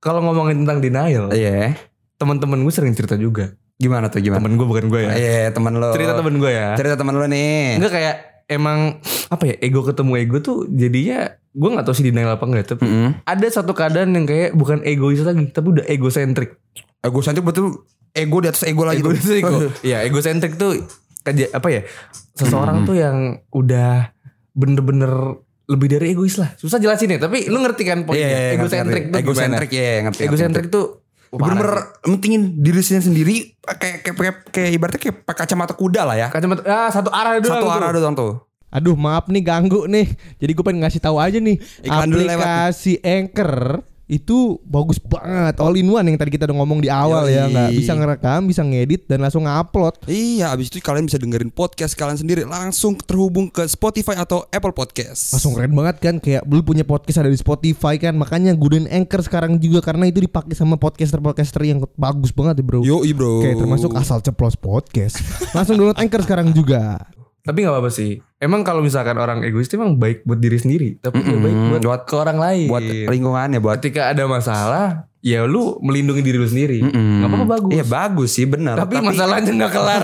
Speaker 3: kalau ngomongin tentang denial,
Speaker 2: iya.
Speaker 3: teman-teman gue sering cerita juga.
Speaker 2: Gimana tuh gimana?
Speaker 3: Temen gue bukan gue ya.
Speaker 2: Iya, teman lo.
Speaker 3: Cerita temen gue ya.
Speaker 2: Cerita teman lo nih.
Speaker 3: Enggak kayak emang apa ya ego ketemu ego tuh jadinya gue nggak tahu sih denial apa enggak tapi
Speaker 2: Mm-mm.
Speaker 3: ada satu keadaan yang kayak bukan egois lagi tapi udah egosentrik
Speaker 2: Ego cantik betul ego di atas ego lagi
Speaker 3: ego
Speaker 2: tuh.
Speaker 3: itu ego ya egosentrik tuh kaja- apa ya
Speaker 2: Hmm.
Speaker 3: seseorang tuh yang udah bener-bener lebih dari egois lah susah jelasin ya tapi lu ngerti kan
Speaker 2: Iya, iya,
Speaker 3: poinnya
Speaker 2: iya,
Speaker 3: egosentrik
Speaker 2: ngerti, ngerti.
Speaker 3: tuh gimana?
Speaker 2: egosentrik ya, ngerti.
Speaker 3: egosentrik tuh wah, parah
Speaker 2: bener-bener mentingin diri sendiri sendiri kayak kayak kayak, kayak ibaratnya kayak pakai kacamata kuda lah ya.
Speaker 3: sih. kacamata ah satu arah doang
Speaker 2: Satu
Speaker 3: tuh.
Speaker 2: arah doang tuh.
Speaker 1: Aduh maaf nih ganggu nih. Jadi gue pengen ngasih tahu aja nih
Speaker 2: Iklan dulu lewat.
Speaker 1: aplikasi Anchor itu bagus banget all in one yang tadi kita udah ngomong di awal
Speaker 2: Yoi.
Speaker 1: ya nggak bisa ngerekam, bisa ngedit dan langsung ngupload.
Speaker 2: Iya, abis itu kalian bisa dengerin podcast kalian sendiri langsung terhubung ke Spotify atau Apple Podcast.
Speaker 1: Langsung keren banget kan kayak lu punya podcast ada di Spotify kan makanya gunain Anchor sekarang juga karena itu dipakai sama podcaster-podcaster yang bagus banget ya, Bro.
Speaker 2: Yo, bro.
Speaker 1: Oke, termasuk asal ceplos podcast. Langsung download Anchor sekarang juga.
Speaker 3: tapi nggak apa-apa sih emang kalau misalkan orang egois itu emang baik buat diri sendiri tapi nggak baik buat, ke orang lain
Speaker 2: buat lingkungannya buat
Speaker 3: ketika ada masalah ya lu melindungi diri lu sendiri nggak apa-apa bagus
Speaker 2: Iya bagus sih benar.
Speaker 3: tapi, masalahnya nggak kelar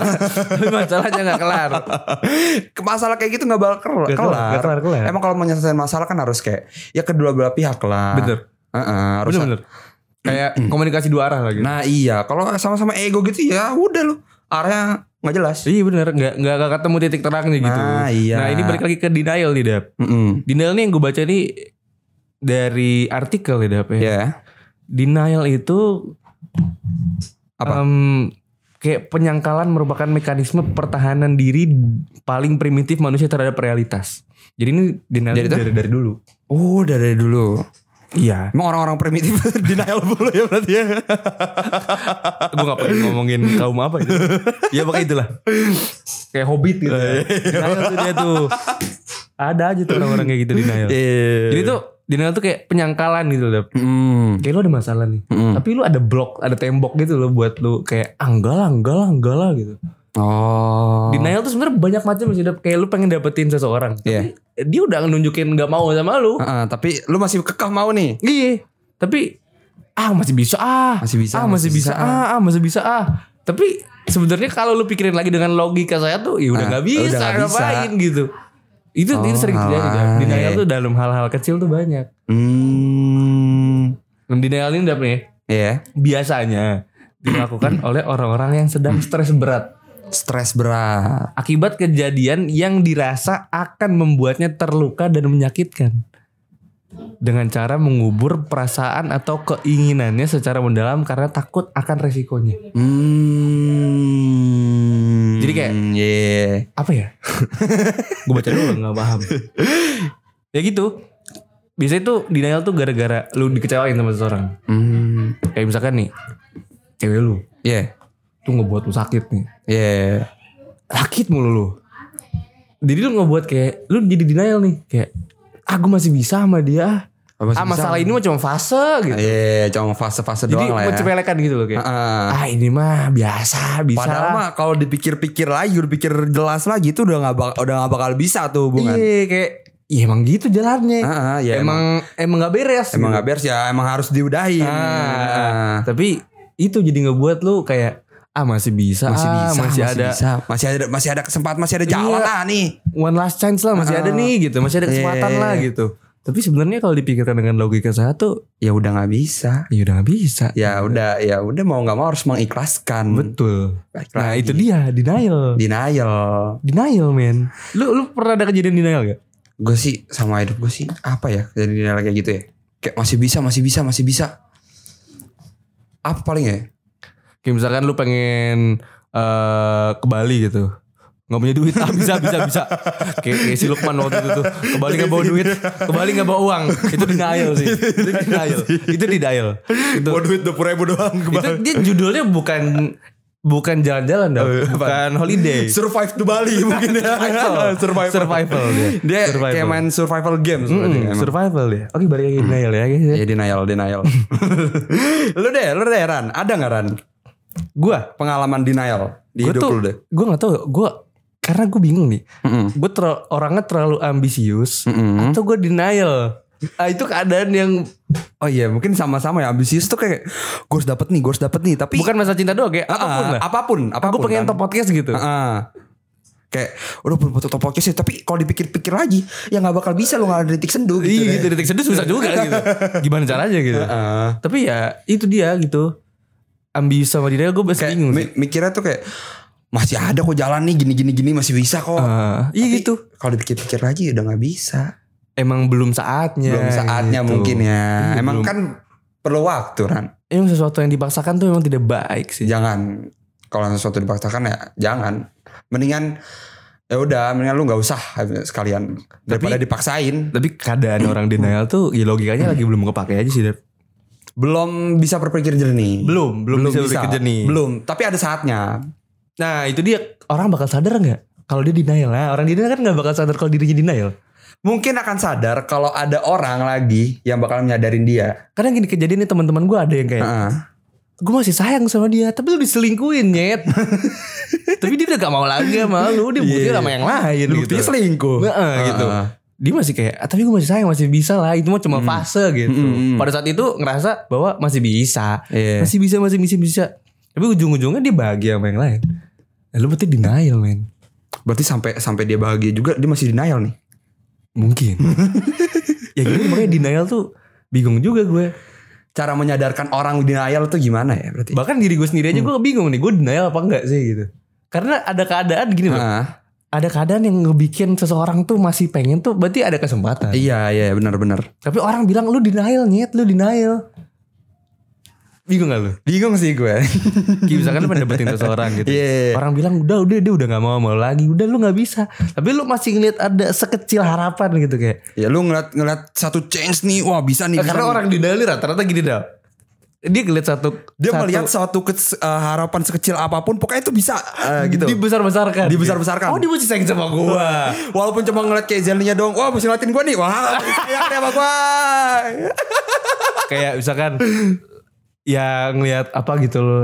Speaker 3: tapi masalahnya nggak kelar
Speaker 2: Ke- masalah kayak gitu nggak bakal kel-
Speaker 3: Nggak kelar,
Speaker 2: kelar.
Speaker 3: nggak kelar, kelar.
Speaker 2: Emang kalau menyelesaikan masalah kan harus kayak ya kedua belah pihak lah.
Speaker 3: Bener.
Speaker 2: Heeh, harus.
Speaker 3: bener bener kayak komunikasi dua arah lagi
Speaker 2: Nah iya, kalau sama-sama ego gitu ya udah loh. Arahnya nggak jelas.
Speaker 3: iya bener nggak nggak nggak ketemu titik terangnya gitu
Speaker 2: Nah, iya.
Speaker 3: nah ini balik lagi ke denial nih dap
Speaker 2: Mm-mm.
Speaker 3: denial nih yang gue baca nih dari artikel nih dap ya
Speaker 2: Ya.
Speaker 3: denial itu
Speaker 2: Apa?
Speaker 3: em, kayak penyangkalan merupakan mekanisme pertahanan diri paling primitif manusia terhadap realitas jadi ini denial
Speaker 2: Jadi tuh?
Speaker 3: dari dari dulu
Speaker 2: Oh dari dulu.
Speaker 3: iya
Speaker 2: Emang orang-orang primitif denial dulu ya berarti ya.
Speaker 3: gue gak pengen ngomongin kaum apa itu ya pakai itulah kayak hobbit gitu ya. denial tuh dia tuh ada aja tuh orang-orang kayak gitu denial jadi tuh denial tuh kayak penyangkalan gitu loh
Speaker 2: Mm.
Speaker 3: kayak lu ada masalah nih tapi lu ada blok ada tembok gitu loh buat lu kayak ah enggak lah enggak lah enggak lah gitu
Speaker 2: Oh.
Speaker 3: denial tuh sebenarnya banyak macam sih Dap. kayak lu pengen dapetin seseorang tapi
Speaker 2: Iya. Ah.
Speaker 3: dia udah nunjukin nggak mau sama lu
Speaker 2: Heeh, tapi lu masih kekeh mau nih.
Speaker 3: iya tapi ah masih bisa ah
Speaker 2: Masih bisa,
Speaker 3: ah masih, bisa, ah ah masih bisa ah tapi sebenarnya kalau lu pikirin lagi dengan logika saya tuh ya udah
Speaker 2: Ah,
Speaker 3: nggak
Speaker 2: udah
Speaker 3: bisa
Speaker 2: nggak bisa.
Speaker 3: ngapain gitu itu itu
Speaker 2: Oh,
Speaker 3: sering terjadi Dap.
Speaker 2: alah. iya,
Speaker 3: denial tuh dalam hal-hal kecil tuh banyak
Speaker 2: Hmm.
Speaker 3: Dan denial ini Dap, nih
Speaker 2: Ya.
Speaker 3: biasanya dilakukan oleh orang-orang yang sedang stres berat
Speaker 2: Stres berat.
Speaker 3: akibat kejadian yang dirasa akan membuatnya terluka dan menyakitkan dengan cara mengubur perasaan atau keinginannya secara mendalam karena takut akan resikonya.
Speaker 2: Hmm.
Speaker 3: Iya. Jadi kayak-
Speaker 2: yeah.
Speaker 3: Apa ya? Gue baca dulu nggak paham. ya gitu. biasanya tuh denial tuh gara-gara lu dikecewain sama seseorang.
Speaker 2: Hmm.
Speaker 3: Kayak misalkan nih, cewek lu
Speaker 2: Ya.
Speaker 3: tuh ngebuat lu sakit nih.
Speaker 2: Ya.
Speaker 3: Sakit mulu lu. Jadi lu ngebuat kayak, lu jadi denial nih. Kayak, ah gue masih bisa sama dia. ah.
Speaker 2: Ah, masih
Speaker 3: Ah
Speaker 2: bisa
Speaker 3: masalah ini mah cuma fase gitu.
Speaker 2: Ya, cuma fase-fase
Speaker 3: jadi
Speaker 2: doang lah ya.
Speaker 3: mencepelekan gitu loh kayak.
Speaker 2: Heeh.
Speaker 3: Ah ini mah biasa, bisa.
Speaker 2: Padahal mah kalau dipikir-pikir lagi, pikir jelas lagi itu udah nggak bak udah nggak bakal bisa tuh hubungan.
Speaker 3: Iya kayak, ya emang gitu jalannya.
Speaker 2: Ah, ah, ya
Speaker 3: emang, emang gak beres.
Speaker 2: Emang
Speaker 3: gitu.
Speaker 2: nggak beres ya, emang harus diudahin.
Speaker 3: Ah,
Speaker 2: Ah.
Speaker 3: tapi itu jadi ngebuat lu kayak ah masih bisa,
Speaker 2: Masih
Speaker 3: ah,
Speaker 2: bisa,
Speaker 3: masih, ada
Speaker 2: bisa. masih ada, masih ada kesempatan, masih ada jalan
Speaker 3: Iya.
Speaker 2: lah nih.
Speaker 3: one last chance lah, masih ada nih gitu, masih ada kesempatan
Speaker 2: Ah, Iya.
Speaker 3: lah gitu. Tapi sebenarnya kalau dipikirkan dengan logika satu,
Speaker 2: Ya udah nggak bisa.
Speaker 3: ya udah gak bisa.
Speaker 2: Ya udah, ya udah mau nggak mau harus mengikhlaskan.
Speaker 3: Betul.
Speaker 2: Baik
Speaker 3: Nah,
Speaker 2: lagi.
Speaker 3: itu dia denial.
Speaker 2: Denial.
Speaker 3: Denial, men. Lu lu pernah ada kejadian denial gak?
Speaker 2: gue sih sama hidup gue sih apa ya jadi denial kayak gitu ya kayak masih bisa masih bisa masih bisa apa paling ya
Speaker 3: Kayak misalkan lu pengen eh ke Bali gitu. Nggak punya duit, ah bisa, bisa, bisa. Kayak, kayak si Lukman waktu itu tuh. Ke Bali nggak bawa duit, ke Bali nggak bawa uang. Itu denial sih. Itu denial. Itu denial. Itu,
Speaker 2: duit dua puluh ribu doang
Speaker 3: itu dia judulnya bukan bukan jalan-jalan
Speaker 2: Oh,
Speaker 3: dong.
Speaker 2: iya.
Speaker 3: Bukan holiday.
Speaker 2: survive to Bali mungkin ya
Speaker 3: survival. Survival dia.
Speaker 2: dia
Speaker 3: survival.
Speaker 2: kayak main survival game sebenarnya
Speaker 3: Mm,
Speaker 2: emang.
Speaker 3: survival dia. Oke, balik lagi ke denial ya. guys.
Speaker 2: ya denial denial lu deh lu deh Ran ada nggak Ran
Speaker 3: Gua
Speaker 2: pengalaman denial di
Speaker 3: gue
Speaker 2: hidup
Speaker 3: tuh
Speaker 2: lu deh Hmm.
Speaker 3: gue nggak tahu gue karena gue bingung nih
Speaker 2: Mm-mm.
Speaker 3: gue ter- orangnya terlalu ambisius
Speaker 2: Mm-mm.
Speaker 3: atau gue denial ah, itu keadaan yang
Speaker 2: oh iya mungkin sama-sama ya ambisius tuh kayak gue harus dapet nih gue harus dapet nih tapi
Speaker 3: bukan masa cinta doang kayak
Speaker 2: Ah,
Speaker 3: apapun lah
Speaker 2: apapun apapun
Speaker 3: gue pengen
Speaker 2: kan.
Speaker 3: top podcast gitu
Speaker 2: Heeh. Kayak udah belum foto top podcast ya, tapi kalau dipikir-pikir lagi ya nggak bakal bisa lo nggak ada detik sendu gitu.
Speaker 3: Iya
Speaker 2: deh.
Speaker 3: gitu detik sedih susah juga gitu gimana caranya gitu
Speaker 2: Heeh.
Speaker 3: tapi ya itu dia gitu ambisius sama denial gue masih
Speaker 2: Kayak
Speaker 3: bingung sih.
Speaker 2: mi- mikirnya tuh kayak masih ada kok jalan nih gini gini gini masih bisa kok.
Speaker 3: Ah, iya
Speaker 2: Tapi
Speaker 3: gitu
Speaker 2: Kalau dipikir-pikir lagi udah nggak bisa.
Speaker 3: emang belum saatnya
Speaker 2: belum saatnya
Speaker 3: gitu.
Speaker 2: mungkin ya.
Speaker 3: Iya,
Speaker 2: Emang
Speaker 3: belum.
Speaker 2: kan perlu waktu kan.
Speaker 3: emang sesuatu yang dipaksakan tuh emang tidak baik sih
Speaker 2: Jangan kalau sesuatu dipaksakan ya jangan. Mendingan ya udah mendingan lu nggak usah sekalian daripada dipaksain
Speaker 3: tapi keadaan orang denial tuh ya logikanya lagi belum kepake aja sih Dep.
Speaker 2: belum bisa berpikir jernih
Speaker 3: Belum, belum bisa berpikir jernih.
Speaker 2: belum tapi ada saatnya
Speaker 3: Nah itu dia orang bakal sadar nggak kalau dia denial lah orang denial kan nggak bakal sadar kalau dirinya denial.
Speaker 2: mungkin akan sadar kalau ada orang lagi yang bakal menyadarin dia.
Speaker 3: Kadang gini kejadian nih teman-teman gue ada yang kayak
Speaker 2: Heeh.
Speaker 3: gue masih sayang sama dia tapi lu diselingkuin nyet. tapi dia udah gak mau lagi sama lu dia buktinya sama yang lain
Speaker 2: Lu
Speaker 3: gitu.
Speaker 2: buktinya selingkuh.
Speaker 3: Nah, eh, gitu.
Speaker 2: Heeh.
Speaker 3: Dia masih kayak "Ah, tapi gue masih sayang masih bisa lah itu mah cuma fase gitu.
Speaker 2: Hmm, hmm.
Speaker 3: Pada saat itu ngerasa bahwa masih bisa.
Speaker 2: Iya.
Speaker 3: Masih bisa masih bisa bisa. Tapi ujung-ujungnya dia bahagia sama yang lain. Nah, lu berarti denial men.
Speaker 2: Berarti sampai sampai dia bahagia juga dia masih denial nih.
Speaker 3: Mungkin. ya gitu makanya denial tuh bingung juga gue.
Speaker 2: Cara menyadarkan orang denial tuh gimana ya berarti?
Speaker 3: Bahkan diri gue sendiri aja
Speaker 1: Hmm.
Speaker 3: gue bingung nih gue denial apa enggak sih gitu. Karena ada keadaan gini loh.
Speaker 2: Heeh.
Speaker 3: Ada keadaan yang ngebikin seseorang tuh masih pengen tuh berarti ada kesempatan.
Speaker 2: iya iya benar-benar.
Speaker 3: Tapi orang bilang lu denial nyet lu denial. Bingung gak lu?
Speaker 2: Bingung sih gue.
Speaker 3: Kayak misalkan lu pendapatin seseorang gitu.
Speaker 2: Iya.
Speaker 3: Orang bilang udah udah dia udah gak mau mau lagi. Udah lu gak bisa. Tapi lu masih ngeliat ada sekecil harapan gitu kayak.
Speaker 2: ya lu ngeliat ngeliat satu change nih, wah bisa nih.
Speaker 3: Eh,
Speaker 2: bisa
Speaker 3: Karena
Speaker 2: nih.
Speaker 3: orang denial ini rata-rata gini dah. Dia ngeliat satu
Speaker 2: dia
Speaker 3: satu-
Speaker 2: melihat suatu kes- eh, harapan sekecil apapun pokoknya itu bisa eh, gitu.
Speaker 3: Dibesar-besarkan.
Speaker 2: Dibesar-besarkan.
Speaker 3: Oh, dia masih sayang sama gua.
Speaker 2: Walaupun cuma ngeliat kayak Zelinnya doang, wah mesti ngeliatin gue nih, wah kayak sama gue.
Speaker 3: Kayak misalkan ya ngelihat apa gitu loh.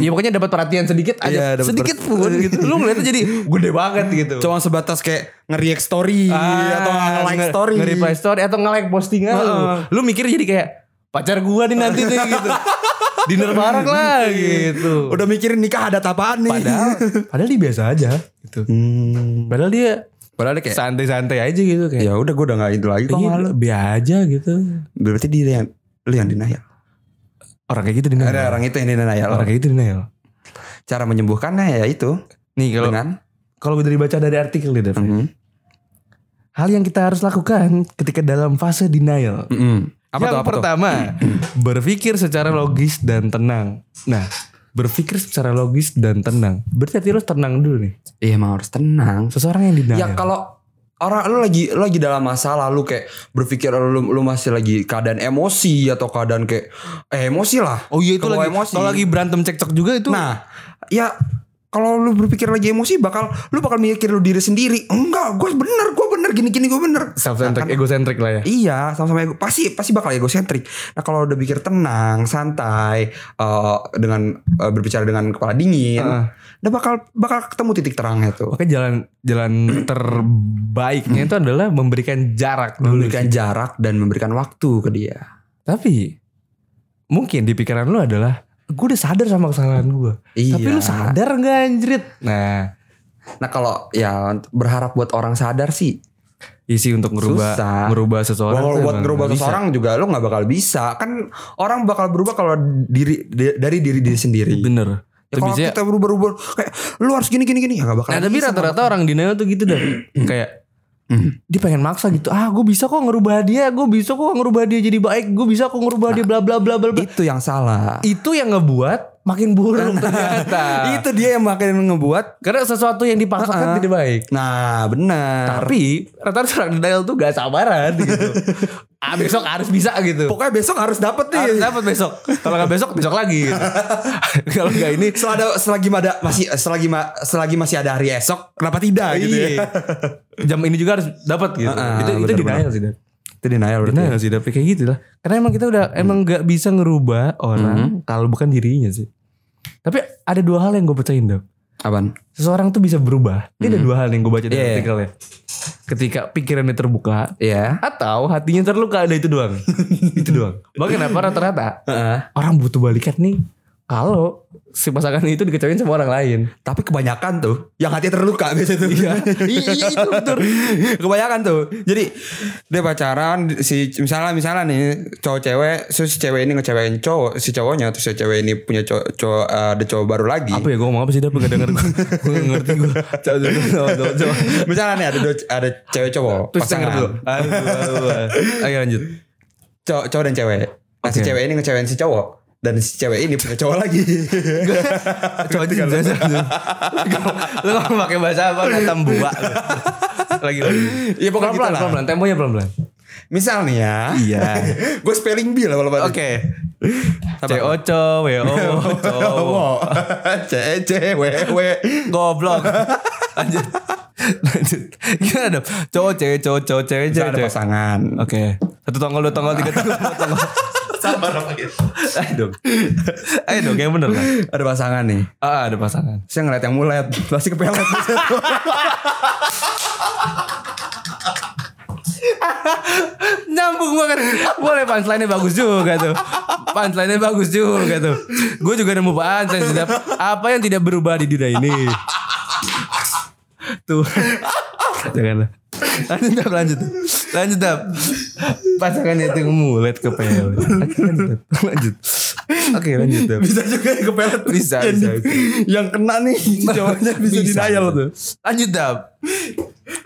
Speaker 3: Ya pokoknya dapat perhatian sedikit aja.
Speaker 2: Iya, dapat
Speaker 3: sedikit
Speaker 2: per-
Speaker 3: pun gitu. Lu ngeliatnya jadi gede banget gitu.
Speaker 2: Cuma sebatas kayak nge-react story Iya, atau nge-like story.
Speaker 3: Ah, Nge-reply story atau nge-like postingan lu. Lu mikir jadi kayak pacar gua nih nanti nih gitu. Dinner bareng
Speaker 2: Iya.
Speaker 3: lah gitu.
Speaker 2: Udah mikirin nikah ada apaan nih.
Speaker 3: Padahal, padahal dia biasa aja gitu. Padahal dia
Speaker 2: Padahal dia kayak
Speaker 3: santai-santai aja gitu kayak.
Speaker 2: ya udah gue udah gak itu lagi kok
Speaker 3: Iya,
Speaker 2: malu.
Speaker 3: biar aja gitu.
Speaker 2: Berarti dia yang lu yang denial.
Speaker 3: Orang kayak gitu denial.
Speaker 2: Ada orang itu yang denial.
Speaker 3: Orang kayak gitu denial.
Speaker 2: Cara menyembuhkannya ya itu
Speaker 3: Nih kalau
Speaker 2: dengan
Speaker 3: kalau dari baca dari artikel nih, Dev.
Speaker 2: Mhm.
Speaker 3: Hal yang kita harus lakukan ketika dalam fase denial.
Speaker 2: Mhm. apa
Speaker 3: yang
Speaker 2: tuh apa tuh?
Speaker 3: pertama, berpikir secara logis dan tenang. Nah, berpikir secara logis dan tenang. Berarti hati lu harus tenang dulu nih.
Speaker 2: Iya emang harus tenang.
Speaker 3: Seseorang yang denial.
Speaker 2: Ya kalau orang lu lagi lu lagi dalam masalah lu kayak berpikir lu lu masih lagi keadaan emosi atau keadaan kayak eh, emosi lah.
Speaker 3: Oh iya itu
Speaker 2: Kalau
Speaker 3: lagi
Speaker 2: emosi.
Speaker 3: kalau lagi berantem cekcok juga itu.
Speaker 2: Nah, ya kalau lu berpikir lagi emosi bakal lu bakal mikir lu diri sendiri. Enggak, gue bener, gue bener gini gini gue bener.
Speaker 3: self-centric,
Speaker 2: Nah, kan-
Speaker 3: egocentric lah ya.
Speaker 2: Iya, sama-sama ego. Pasti pasti bakal egosentrik. Nah, kalau udah pikir tenang, santai, eh, dengan eh, berbicara dengan kepala dingin, udah bakal bakal ketemu titik terangnya tuh.
Speaker 3: Oke jalan jalan terbaiknya itu adalah memberikan jarak dulu. kan.
Speaker 2: Memberikan jarak dan memberikan waktu ke dia.
Speaker 3: Tapi mungkin di pikiran lu adalah gue udah sadar sama kesalahan gue.
Speaker 2: Iya.
Speaker 3: Tapi lu sadar nggak anjrit? Nah,
Speaker 2: Nah, kalau ya berharap buat orang sadar sih.
Speaker 3: isi untuk ngerubah
Speaker 2: Susah.
Speaker 3: ngerubah seseorang.
Speaker 2: Kalau
Speaker 3: tuh
Speaker 2: buat
Speaker 3: emang
Speaker 2: ngerubah
Speaker 3: nggak bisa.
Speaker 2: seseorang juga lu nggak bakal bisa. Kan orang bakal berubah kalau diri di- dari diri diri sendiri.
Speaker 3: Bener.
Speaker 2: Ya,
Speaker 3: Tapi
Speaker 2: kalau
Speaker 3: biasanya-
Speaker 2: kita berubah-ubah kayak lu harus gini gini gini ya gak bakal.
Speaker 3: Nah tapi
Speaker 2: bisa.
Speaker 3: rata-rata orang denial tuh gitu dah Kayak Dia pengen maksa gitu Ah gue bisa kok ngerubah dia Gue bisa kok ngerubah dia jadi baik Gue bisa kok ngerubah dia bla bla bla bla bla
Speaker 2: itu yang salah.
Speaker 3: Nah, Itu yang ngebuat Makin buruk ternyata
Speaker 2: itu dia yang makin ngebuat
Speaker 3: Karena sesuatu yang dipaksakan tidak baik
Speaker 2: Nah benar.
Speaker 3: Tapi rata-rata orang denial tuh gak sabaran gitu Ah besok harus bisa gitu
Speaker 2: Pokoknya besok harus dapet nih.
Speaker 3: Harus dapat besok Kalau gak besok besok lagi gitu. Kalau gak ini
Speaker 2: Selada, selagi ada masih selagi ma- selagi masih ada hari esok, kenapa tidak gitu ya?
Speaker 3: iya. Jam ini juga harus dapat gitu
Speaker 2: Ah, ah,
Speaker 3: Itu, itu
Speaker 2: bener-bener.
Speaker 3: denial sih Dan.
Speaker 2: Itu denial berarti. ya.
Speaker 3: Benar sih tapi kayak gitu lah. Karena emang kita udah emang nggak bisa ngerubah orang kalau bukan dirinya sih. Tapi ada dua hal yang gue percayain dong.
Speaker 2: Apaan?
Speaker 3: Seseorang tuh bisa berubah. Ini ada dua hal yang gue baca dari
Speaker 2: Iya.
Speaker 3: artikelnya. Ketika pikirannya terbuka
Speaker 2: Iya.
Speaker 3: atau hatinya terluka ada itu doang. itu doang. Makanya kenapa rata-rata
Speaker 2: Heeh.
Speaker 3: orang butuh balikan nih kalau si pasangan itu dikecewain sama orang lain.
Speaker 2: Tapi kebanyakan tuh yang hati terluka biasanya tuh. Iya.
Speaker 3: iya itu betul.
Speaker 2: kebanyakan tuh. Jadi dia pacaran si misalnya misalnya nih cowok cewek, so si cewek ini ngecewain cowok, si cowoknya terus si cewek ini punya cowok cowok eh, ada cowok baru lagi.
Speaker 3: Apa ya gue ngomong apa sih dia gak denger gue. Gue nggak ngerti gue. Coba coba coba, coba.
Speaker 2: misalnya nih ada do- ada cewek cowok
Speaker 3: Terus denger dulu. Aduh, aduh, aduh. Ayo lanjut.
Speaker 2: cowok, cowok dan cewek. Nah, si
Speaker 3: Oke.
Speaker 2: cewek ini ngecewain si cowok dan si cewek ini punya cowok lagi.
Speaker 3: Coba aja jelasin
Speaker 2: gitu.
Speaker 3: dulu. Lu ngomong pakai bahasa apa? Kata mbua. lu. Lagi lagi.
Speaker 2: Iya, pokoknya
Speaker 3: pelan
Speaker 2: gitu lah.
Speaker 3: pelan temponya pelan pelan.
Speaker 2: Misal nih ya.
Speaker 3: Iya.
Speaker 2: Gue spelling B lah kalau Oke.
Speaker 3: CO co wo co.
Speaker 2: Cowok. C E C W W.
Speaker 3: Goblok. Lanjut. Lanjut. Gimana dong? Cowok cewek cowok cowok cewek
Speaker 2: Misal
Speaker 3: cewek.
Speaker 2: ada
Speaker 3: cewek.
Speaker 2: pasangan.
Speaker 3: Oke. Satu tongkol dua tongkol tiga tongkol empat tongkol.
Speaker 2: Sabar apa gitu.
Speaker 3: Ayo dong. Ayo Eh, dong yang bener lah.
Speaker 2: Ada pasangan nih.
Speaker 3: Ah ada pasangan.
Speaker 2: Saya ngeliat yang mulet, pasti kepelet.
Speaker 3: Nyambung banget Boleh punchline-nya bagus juga tuh Punchline-nya bagus juga tuh Gue juga nemu punchline sedap. Apa yang tidak berubah di dunia ini Tuh Janganlah Lanjut Dap, lanjut Lanjut Dap Pasangan itu ngemulet ke pelet Oke, Lanjut Dap. Lanjut Oke lanjut Dap
Speaker 2: bisa juga yang kepelet.
Speaker 3: Bisa,
Speaker 2: Yang
Speaker 3: bisa,
Speaker 2: di- Yang kena nih cowoknya bisa, di denial tuh.
Speaker 3: Lanjut Dap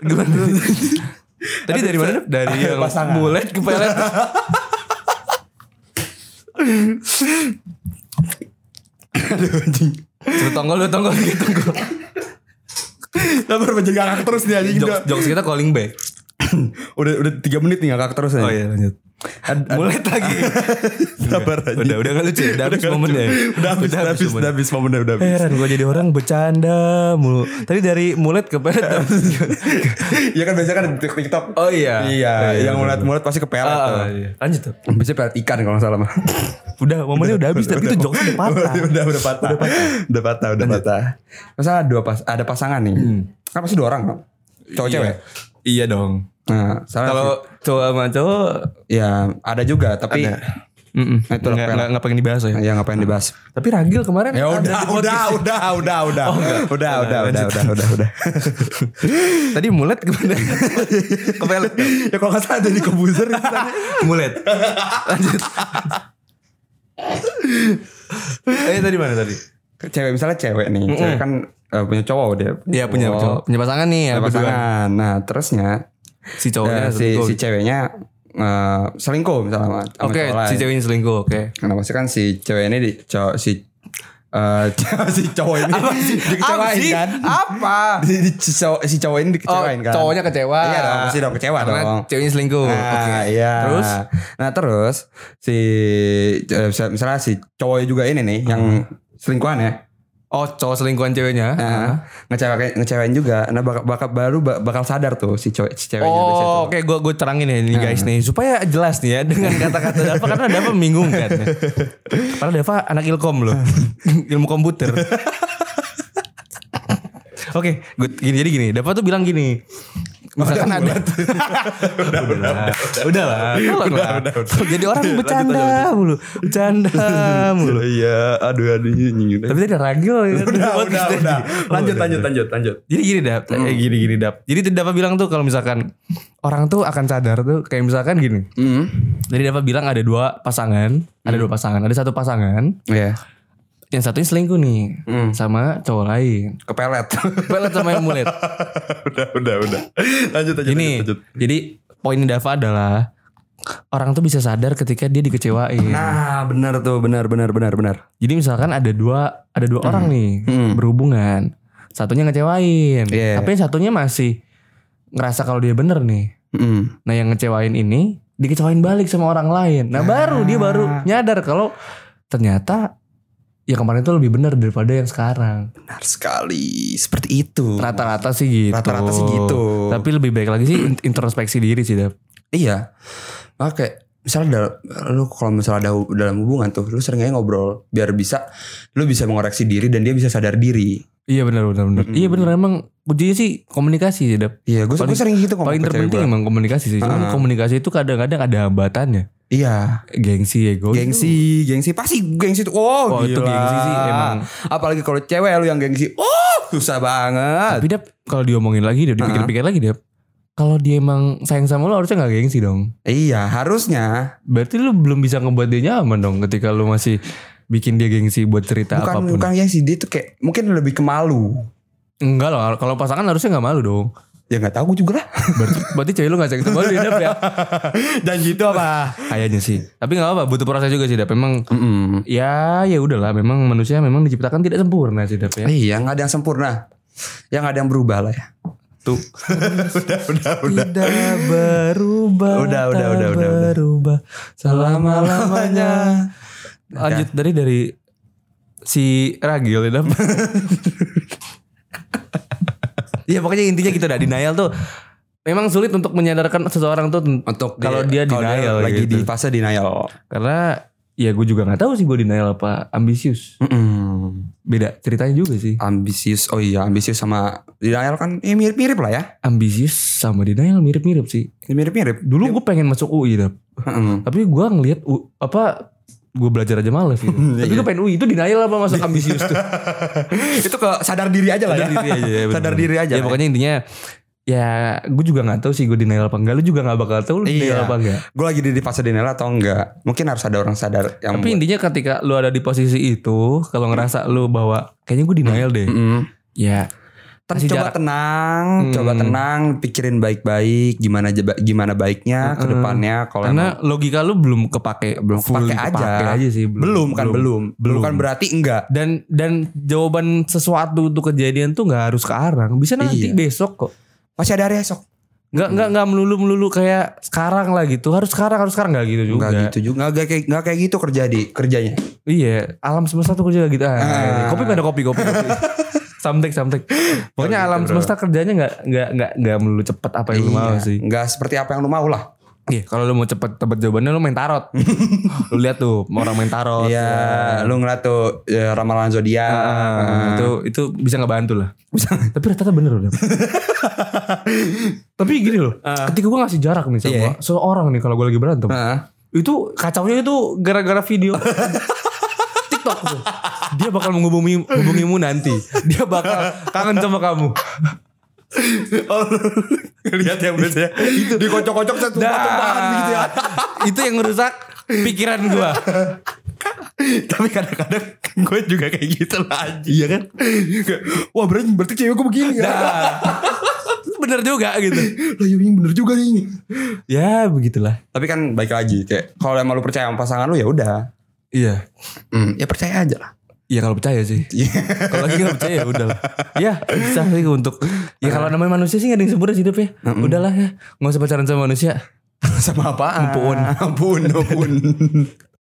Speaker 3: Gimana Tadi dari mana Dap? Dari yang
Speaker 2: Pasangan.
Speaker 3: mulet ke pelet
Speaker 2: Aduh anjing.
Speaker 3: Satu tonggol dua tonggol tiga tonggol
Speaker 2: Sabar menjaga ngakak terus nih anjing.
Speaker 3: jokes, jokes kita calling back
Speaker 2: Udah udah 3 menit nih ngakak terus
Speaker 3: Oh iya lanjut Mulai lagi
Speaker 2: Sabar
Speaker 3: Udah udah udah gak lucu ya? Udah habis momennya ya?
Speaker 2: Udah habis, udah habis,
Speaker 3: momennya.
Speaker 2: udah habis momennya udah habis.
Speaker 3: Heran gue jadi orang bercanda mulu Tadi dari mulet ke pelet Ah,
Speaker 2: Iya kan biasanya kan di TikTok.
Speaker 3: Oh
Speaker 2: Iya,
Speaker 3: iya Oh, iya,
Speaker 2: yang
Speaker 3: bener.
Speaker 2: mulet-mulet pasti kepelet.
Speaker 3: Ah,
Speaker 2: tuh.
Speaker 3: ah, iya. Lanjut tuh
Speaker 2: Bisa pelet ikan kalau nggak salah mah.
Speaker 3: Udah momennya udah habis Tapi itu jokes udah patah
Speaker 2: udah udah patah. Udah patah, udah patah. Udah patah. Masalah dua pas ada pasangan nih. Kan pasti dua orang dong. Cowok
Speaker 3: Hmm. Iya.
Speaker 2: cewek.
Speaker 3: Iya dong
Speaker 2: Nah, salah
Speaker 3: Kalau cowok sama cowok
Speaker 2: ya ada juga tapi
Speaker 3: Mm-mm.
Speaker 2: Nah, itu lah, pelet.
Speaker 3: Nggak- nggak- oh, nggak pengen dibahas ya
Speaker 2: ya ngapain dibahas.
Speaker 3: Tapi Ragil kemarin
Speaker 2: Ya
Speaker 3: ada
Speaker 2: udah,
Speaker 3: di podcast.
Speaker 2: udah, udah, udah, udah, udah, udah, udah,
Speaker 3: gitu. Oh, lanjut.
Speaker 2: udah, udah, udah.
Speaker 3: Tadi mulet ke pelet Ke pelet
Speaker 2: Ya kalau nggak salah jadi kebuzer.
Speaker 3: Mulet Lanjut Eh tadi mana tadi?
Speaker 2: Cewek misalnya cewek nih, cewek kan eh, punya cowok dia. Oh.
Speaker 3: Iya punya
Speaker 2: cowok.
Speaker 3: cowok, punya pasangan nih
Speaker 5: Iya,
Speaker 2: Ada
Speaker 3: yang kedua.
Speaker 2: pasangan. Nah, terusnya
Speaker 3: Si cowoknya
Speaker 2: eh, si,
Speaker 3: selingkuh.
Speaker 2: si ceweknya eh, selingkuh misalnya sama, sama
Speaker 3: Oke,
Speaker 2: cowok
Speaker 3: si
Speaker 2: lain.
Speaker 3: ceweknya selingkuh, oke.
Speaker 2: Karena pasti kan si cewek ini di, cowok- si
Speaker 5: eh, si cowok ini dikecewain kan?
Speaker 2: Apa?
Speaker 5: Si, si cowok, si cowok ini dikecewain kan?
Speaker 2: Oh, cowoknya kecewa.
Speaker 5: Iya dong, pasti dong kecewa
Speaker 2: Karena
Speaker 5: dong.
Speaker 2: ceweknya selingkuh.
Speaker 3: Ah,
Speaker 5: Nah,
Speaker 2: Oke.
Speaker 5: iya.
Speaker 2: Terus?
Speaker 5: Nah, terus si eh, misal- misalnya si cowoknya juga ini nih yang
Speaker 2: Hmm.
Speaker 5: selingkuhan ya.
Speaker 2: Oh, cowok selingkuhan ceweknya.
Speaker 3: Ah,
Speaker 5: Nah, ngecewain ngecewain juga. Nah, bakal, bakal baru ba- bakal sadar tuh si cowok si ceweknya biasanya tuh.
Speaker 3: Oh, oke, gue gue terangin ya nih guys nih supaya jelas nih ya dengan kata-kata Dava karena Dava membingungkan. ya. Karena Dava anak ilkom loh, ilmu komputer. Oke, good. gini jadi gini. Dava tuh bilang gini. Misalkan ada udah, udah, udah, lah, tolong lah. Jadi orang bercanda mulu, bercanda mulu.
Speaker 5: Iya, aduh aduh nyinyirin.
Speaker 3: Tapi tadi ada ragil ya.
Speaker 5: Udah, udah,
Speaker 3: Tadi.
Speaker 5: udah. Lanjut, lanjut, lanjut, lanjut.
Speaker 3: Jadi gini dap, eh, gini gini dap. Jadi tuh Dapa bilang tuh kalau misalkan orang tuh akan sadar tuh kayak misalkan gini. Jadi Dapa bilang ada dua pasangan, ada
Speaker 5: Mm.
Speaker 3: dua pasangan, ada satu pasangan
Speaker 2: Iya.
Speaker 3: yang satunya selingkuh nih
Speaker 5: Mm.
Speaker 3: sama cowok lain.
Speaker 2: Kepelet.
Speaker 3: Pelet sama yang mulet.
Speaker 5: Udah, udah, udah. Lanjut aja.
Speaker 3: Gini. Jadi poin Dava adalah orang tuh bisa sadar ketika dia dikecewain.
Speaker 2: Nah, benar tuh, benar, benar, benar, benar.
Speaker 3: Jadi misalkan ada dua ada
Speaker 5: Mm.
Speaker 3: dua orang nih berhubungan. Satunya ngecewain,
Speaker 2: Iya.
Speaker 3: tapi yang satunya masih ngerasa kalau dia bener nih.
Speaker 2: Mm.
Speaker 3: Nah yang ngecewain ini dikecewain balik sama orang lain. Nah
Speaker 2: Ah.
Speaker 3: baru dia baru nyadar kalau ternyata ya kemarin itu lebih benar daripada yang sekarang.
Speaker 2: Benar sekali. Seperti itu.
Speaker 3: Rata-rata sih gitu.
Speaker 2: Rata-rata sih gitu.
Speaker 3: Tapi lebih baik lagi sih in- introspeksi diri sih, Dap.
Speaker 2: Iya. Oke, misalnya dal- lu kalau misalnya ada hu- dalam hubungan tuh, lu sering aja ngobrol biar bisa lu bisa mengoreksi diri dan dia bisa sadar diri.
Speaker 3: Iya benar benar benar. Iya benar emang kuncinya sih komunikasi sih, Dap.
Speaker 2: Iya, gue
Speaker 3: Paling-
Speaker 2: sering gitu ngomong
Speaker 3: Paling
Speaker 2: ke cewek
Speaker 3: terpenting
Speaker 2: gua. Ah.
Speaker 3: emang komunikasi sih. Cuman komunikasi itu kadang-kadang ada hambatannya.
Speaker 2: Iya,
Speaker 3: Gengsi, ego. itu-
Speaker 2: gengsi, gengsi pasti gengsi tuh. Oh,
Speaker 3: Wah, itu
Speaker 2: gila.
Speaker 3: gengsi sih emang.
Speaker 2: Apalagi kalau cewek lu yang gengsi, oh susah banget.
Speaker 3: Tapi Dap, kalau diomongin lagi, Dap, dipikir-pikir
Speaker 2: Ah.
Speaker 3: lagi, Dap. Kalau dia emang sayang sama lo harusnya nggak gengsi dong.
Speaker 2: Iya, harusnya
Speaker 3: Berarti lu belum bisa ngebuat dia nyaman dong ketika lu masih bikin dia gengsi buat cerita
Speaker 2: bukan
Speaker 3: apapun.
Speaker 2: bukan gengsi dia tuh kayak mungkin lebih ke malu.
Speaker 3: Enggak loh, kalau pasangan harusnya nggak malu dong.
Speaker 2: Ya nggak tahu gua juga lah.
Speaker 3: Berarti, berarti cewek lu gak sayang sama lu ya, Dap, ya.
Speaker 2: dan gitu apa?
Speaker 3: Kayaknya sih. Tapi nggak apa-apa, butuh proses juga sih, Dap. Memang
Speaker 2: Mm-mm.
Speaker 3: ya ya udahlah, memang manusia memang diciptakan tidak sempurna sih, Dap ya.
Speaker 2: Iya, nggak ada yang sempurna. Yang nggak ada yang berubah lah ya.
Speaker 3: Tuh. udah, udah, udah. Tidak berubah.
Speaker 2: Udah, udah,
Speaker 3: tak
Speaker 2: udah, udah, udah.
Speaker 3: Berubah selama-lamanya. Lanjut dari dari si Ragil ya. Dap. Iya pokoknya intinya gitu dah denial tuh memang sulit untuk menyadarkan seseorang tuh
Speaker 2: Untuk
Speaker 3: kalau dia
Speaker 2: kalau
Speaker 3: denial
Speaker 2: lagi di
Speaker 3: gitu.
Speaker 2: fase denial.
Speaker 3: karena ya gue juga nggak tahu sih gue denial apa ambisius
Speaker 2: Mm-mm.
Speaker 3: beda ceritanya juga sih
Speaker 2: Ambisius, oh iya ambisius sama denial kan ya mirip-mirip lah ya.
Speaker 3: ambisius sama denial mirip-mirip sih
Speaker 2: Mirip-mirip.
Speaker 3: dulu gue pengen masuk UI Dap.
Speaker 2: Mm-mm.
Speaker 3: tapi gue ngelihat U- apa gue belajar aja males gitu.
Speaker 2: Hmm,
Speaker 3: tapi
Speaker 2: iya.
Speaker 3: gue pengen UI itu denial apa masuk ambisius tuh
Speaker 2: Itu ke sadar diri aja Iya, lah ya.
Speaker 3: Sadar diri aja, ya,
Speaker 2: sadar
Speaker 3: bener.
Speaker 2: diri aja.
Speaker 3: ya pokoknya intinya ya gue juga nggak tahu sih gue denial apa enggak lu juga nggak bakal tahu lu
Speaker 2: Iya.
Speaker 3: denial apa enggak
Speaker 2: Gue lagi di di fase denial atau enggak? Mungkin harus ada orang sadar yang
Speaker 3: Tapi intinya ketika lu ada di posisi itu, kalau ngerasa lu bahwa kayaknya gue denial deh.
Speaker 2: Mm-mm. Iya.
Speaker 3: Ya.
Speaker 2: Ter-
Speaker 3: Kasih
Speaker 2: coba
Speaker 3: jarak.
Speaker 2: tenang,
Speaker 3: Hmm.
Speaker 2: coba tenang, pikirin baik-baik gimana aja ba- gimana baiknya ke depannya kalau
Speaker 3: Karena logika lu belum kepake,
Speaker 2: belum
Speaker 3: fully
Speaker 2: kepake aja.
Speaker 3: sih,
Speaker 2: emang- belum kan belum. Belum kan berarti enggak.
Speaker 3: Dan dan jawaban sesuatu untuk kejadian tuh nggak harus sekarang, bisa nanti
Speaker 2: Iya.
Speaker 3: besok kok.
Speaker 2: Masih ada hari esok.
Speaker 3: Nggak nggak nggak melulu melulu kayak sekarang lah gitu, harus sekarang harus sekarang nggak gitu juga.
Speaker 2: Enggak gitu juga. Enggak kayak enggak kayak gitu kerja di kerjanya.
Speaker 3: Iya, alam semesta tuh kerja gitu. Ah,
Speaker 2: Ah.
Speaker 3: Kopi nggak ada kopi kopi. kopi. samtek samtek. Pokoknya alam semesta kerjanya nggak nggak nggak nggak melulu cepet apa yang lu mau
Speaker 2: gitu, Iya.
Speaker 3: sih.
Speaker 2: Enggak seperti apa yang lu mau lah.
Speaker 3: Iya, kalau lu mau cepet tebet jawabannya lu main tarot. lu lihat tuh orang main tarot.
Speaker 2: Iya, lu ngeliat tuh ya, ramalan zodiak.
Speaker 3: Ah,
Speaker 2: Ah.
Speaker 3: itu itu bisa ngebantu lah. Tapi rata-rata bener loh. Dam. Tapi gini loh, ketika gue ngasih jarak nih sama
Speaker 2: Ah. Iya.
Speaker 3: seorang nih kalau gue lagi berantem,
Speaker 2: Heeh.
Speaker 3: itu kacaunya itu gara-gara video TikTok tuh. Dia bakal menghubungi hubungimu nanti. Dia bakal kangen sama kamu.
Speaker 2: Lihat yang biasanya itu dikocok-kocok satu tumpahan gitu ya.
Speaker 3: itu yang ngerusak pikiran gua.
Speaker 2: Tapi kadang-kadang gue juga kayak gitu lah anjing. Iya kan? Kayak, Wah berarti, berarti cewek gue begini ya.
Speaker 3: Bener juga gitu.
Speaker 2: Lah iya, bener juga nih.
Speaker 3: Ya begitulah.
Speaker 2: Tapi kan baik lagi kayak kalau emang lu percaya sama pasangan lu ya udah.
Speaker 3: Iya.
Speaker 2: Hmm, ya percaya aja lah.
Speaker 3: Ya kalau percaya sih. kalau lagi nggak percaya ya udahlah. Ya bisa sih untuk. Ya kalau namanya manusia sih nggak ada yang sempurna sih hidup ya. Udahlah ya. Nggak usah pacaran sama manusia.
Speaker 2: sama apaan? Ampun, ampun, ampun.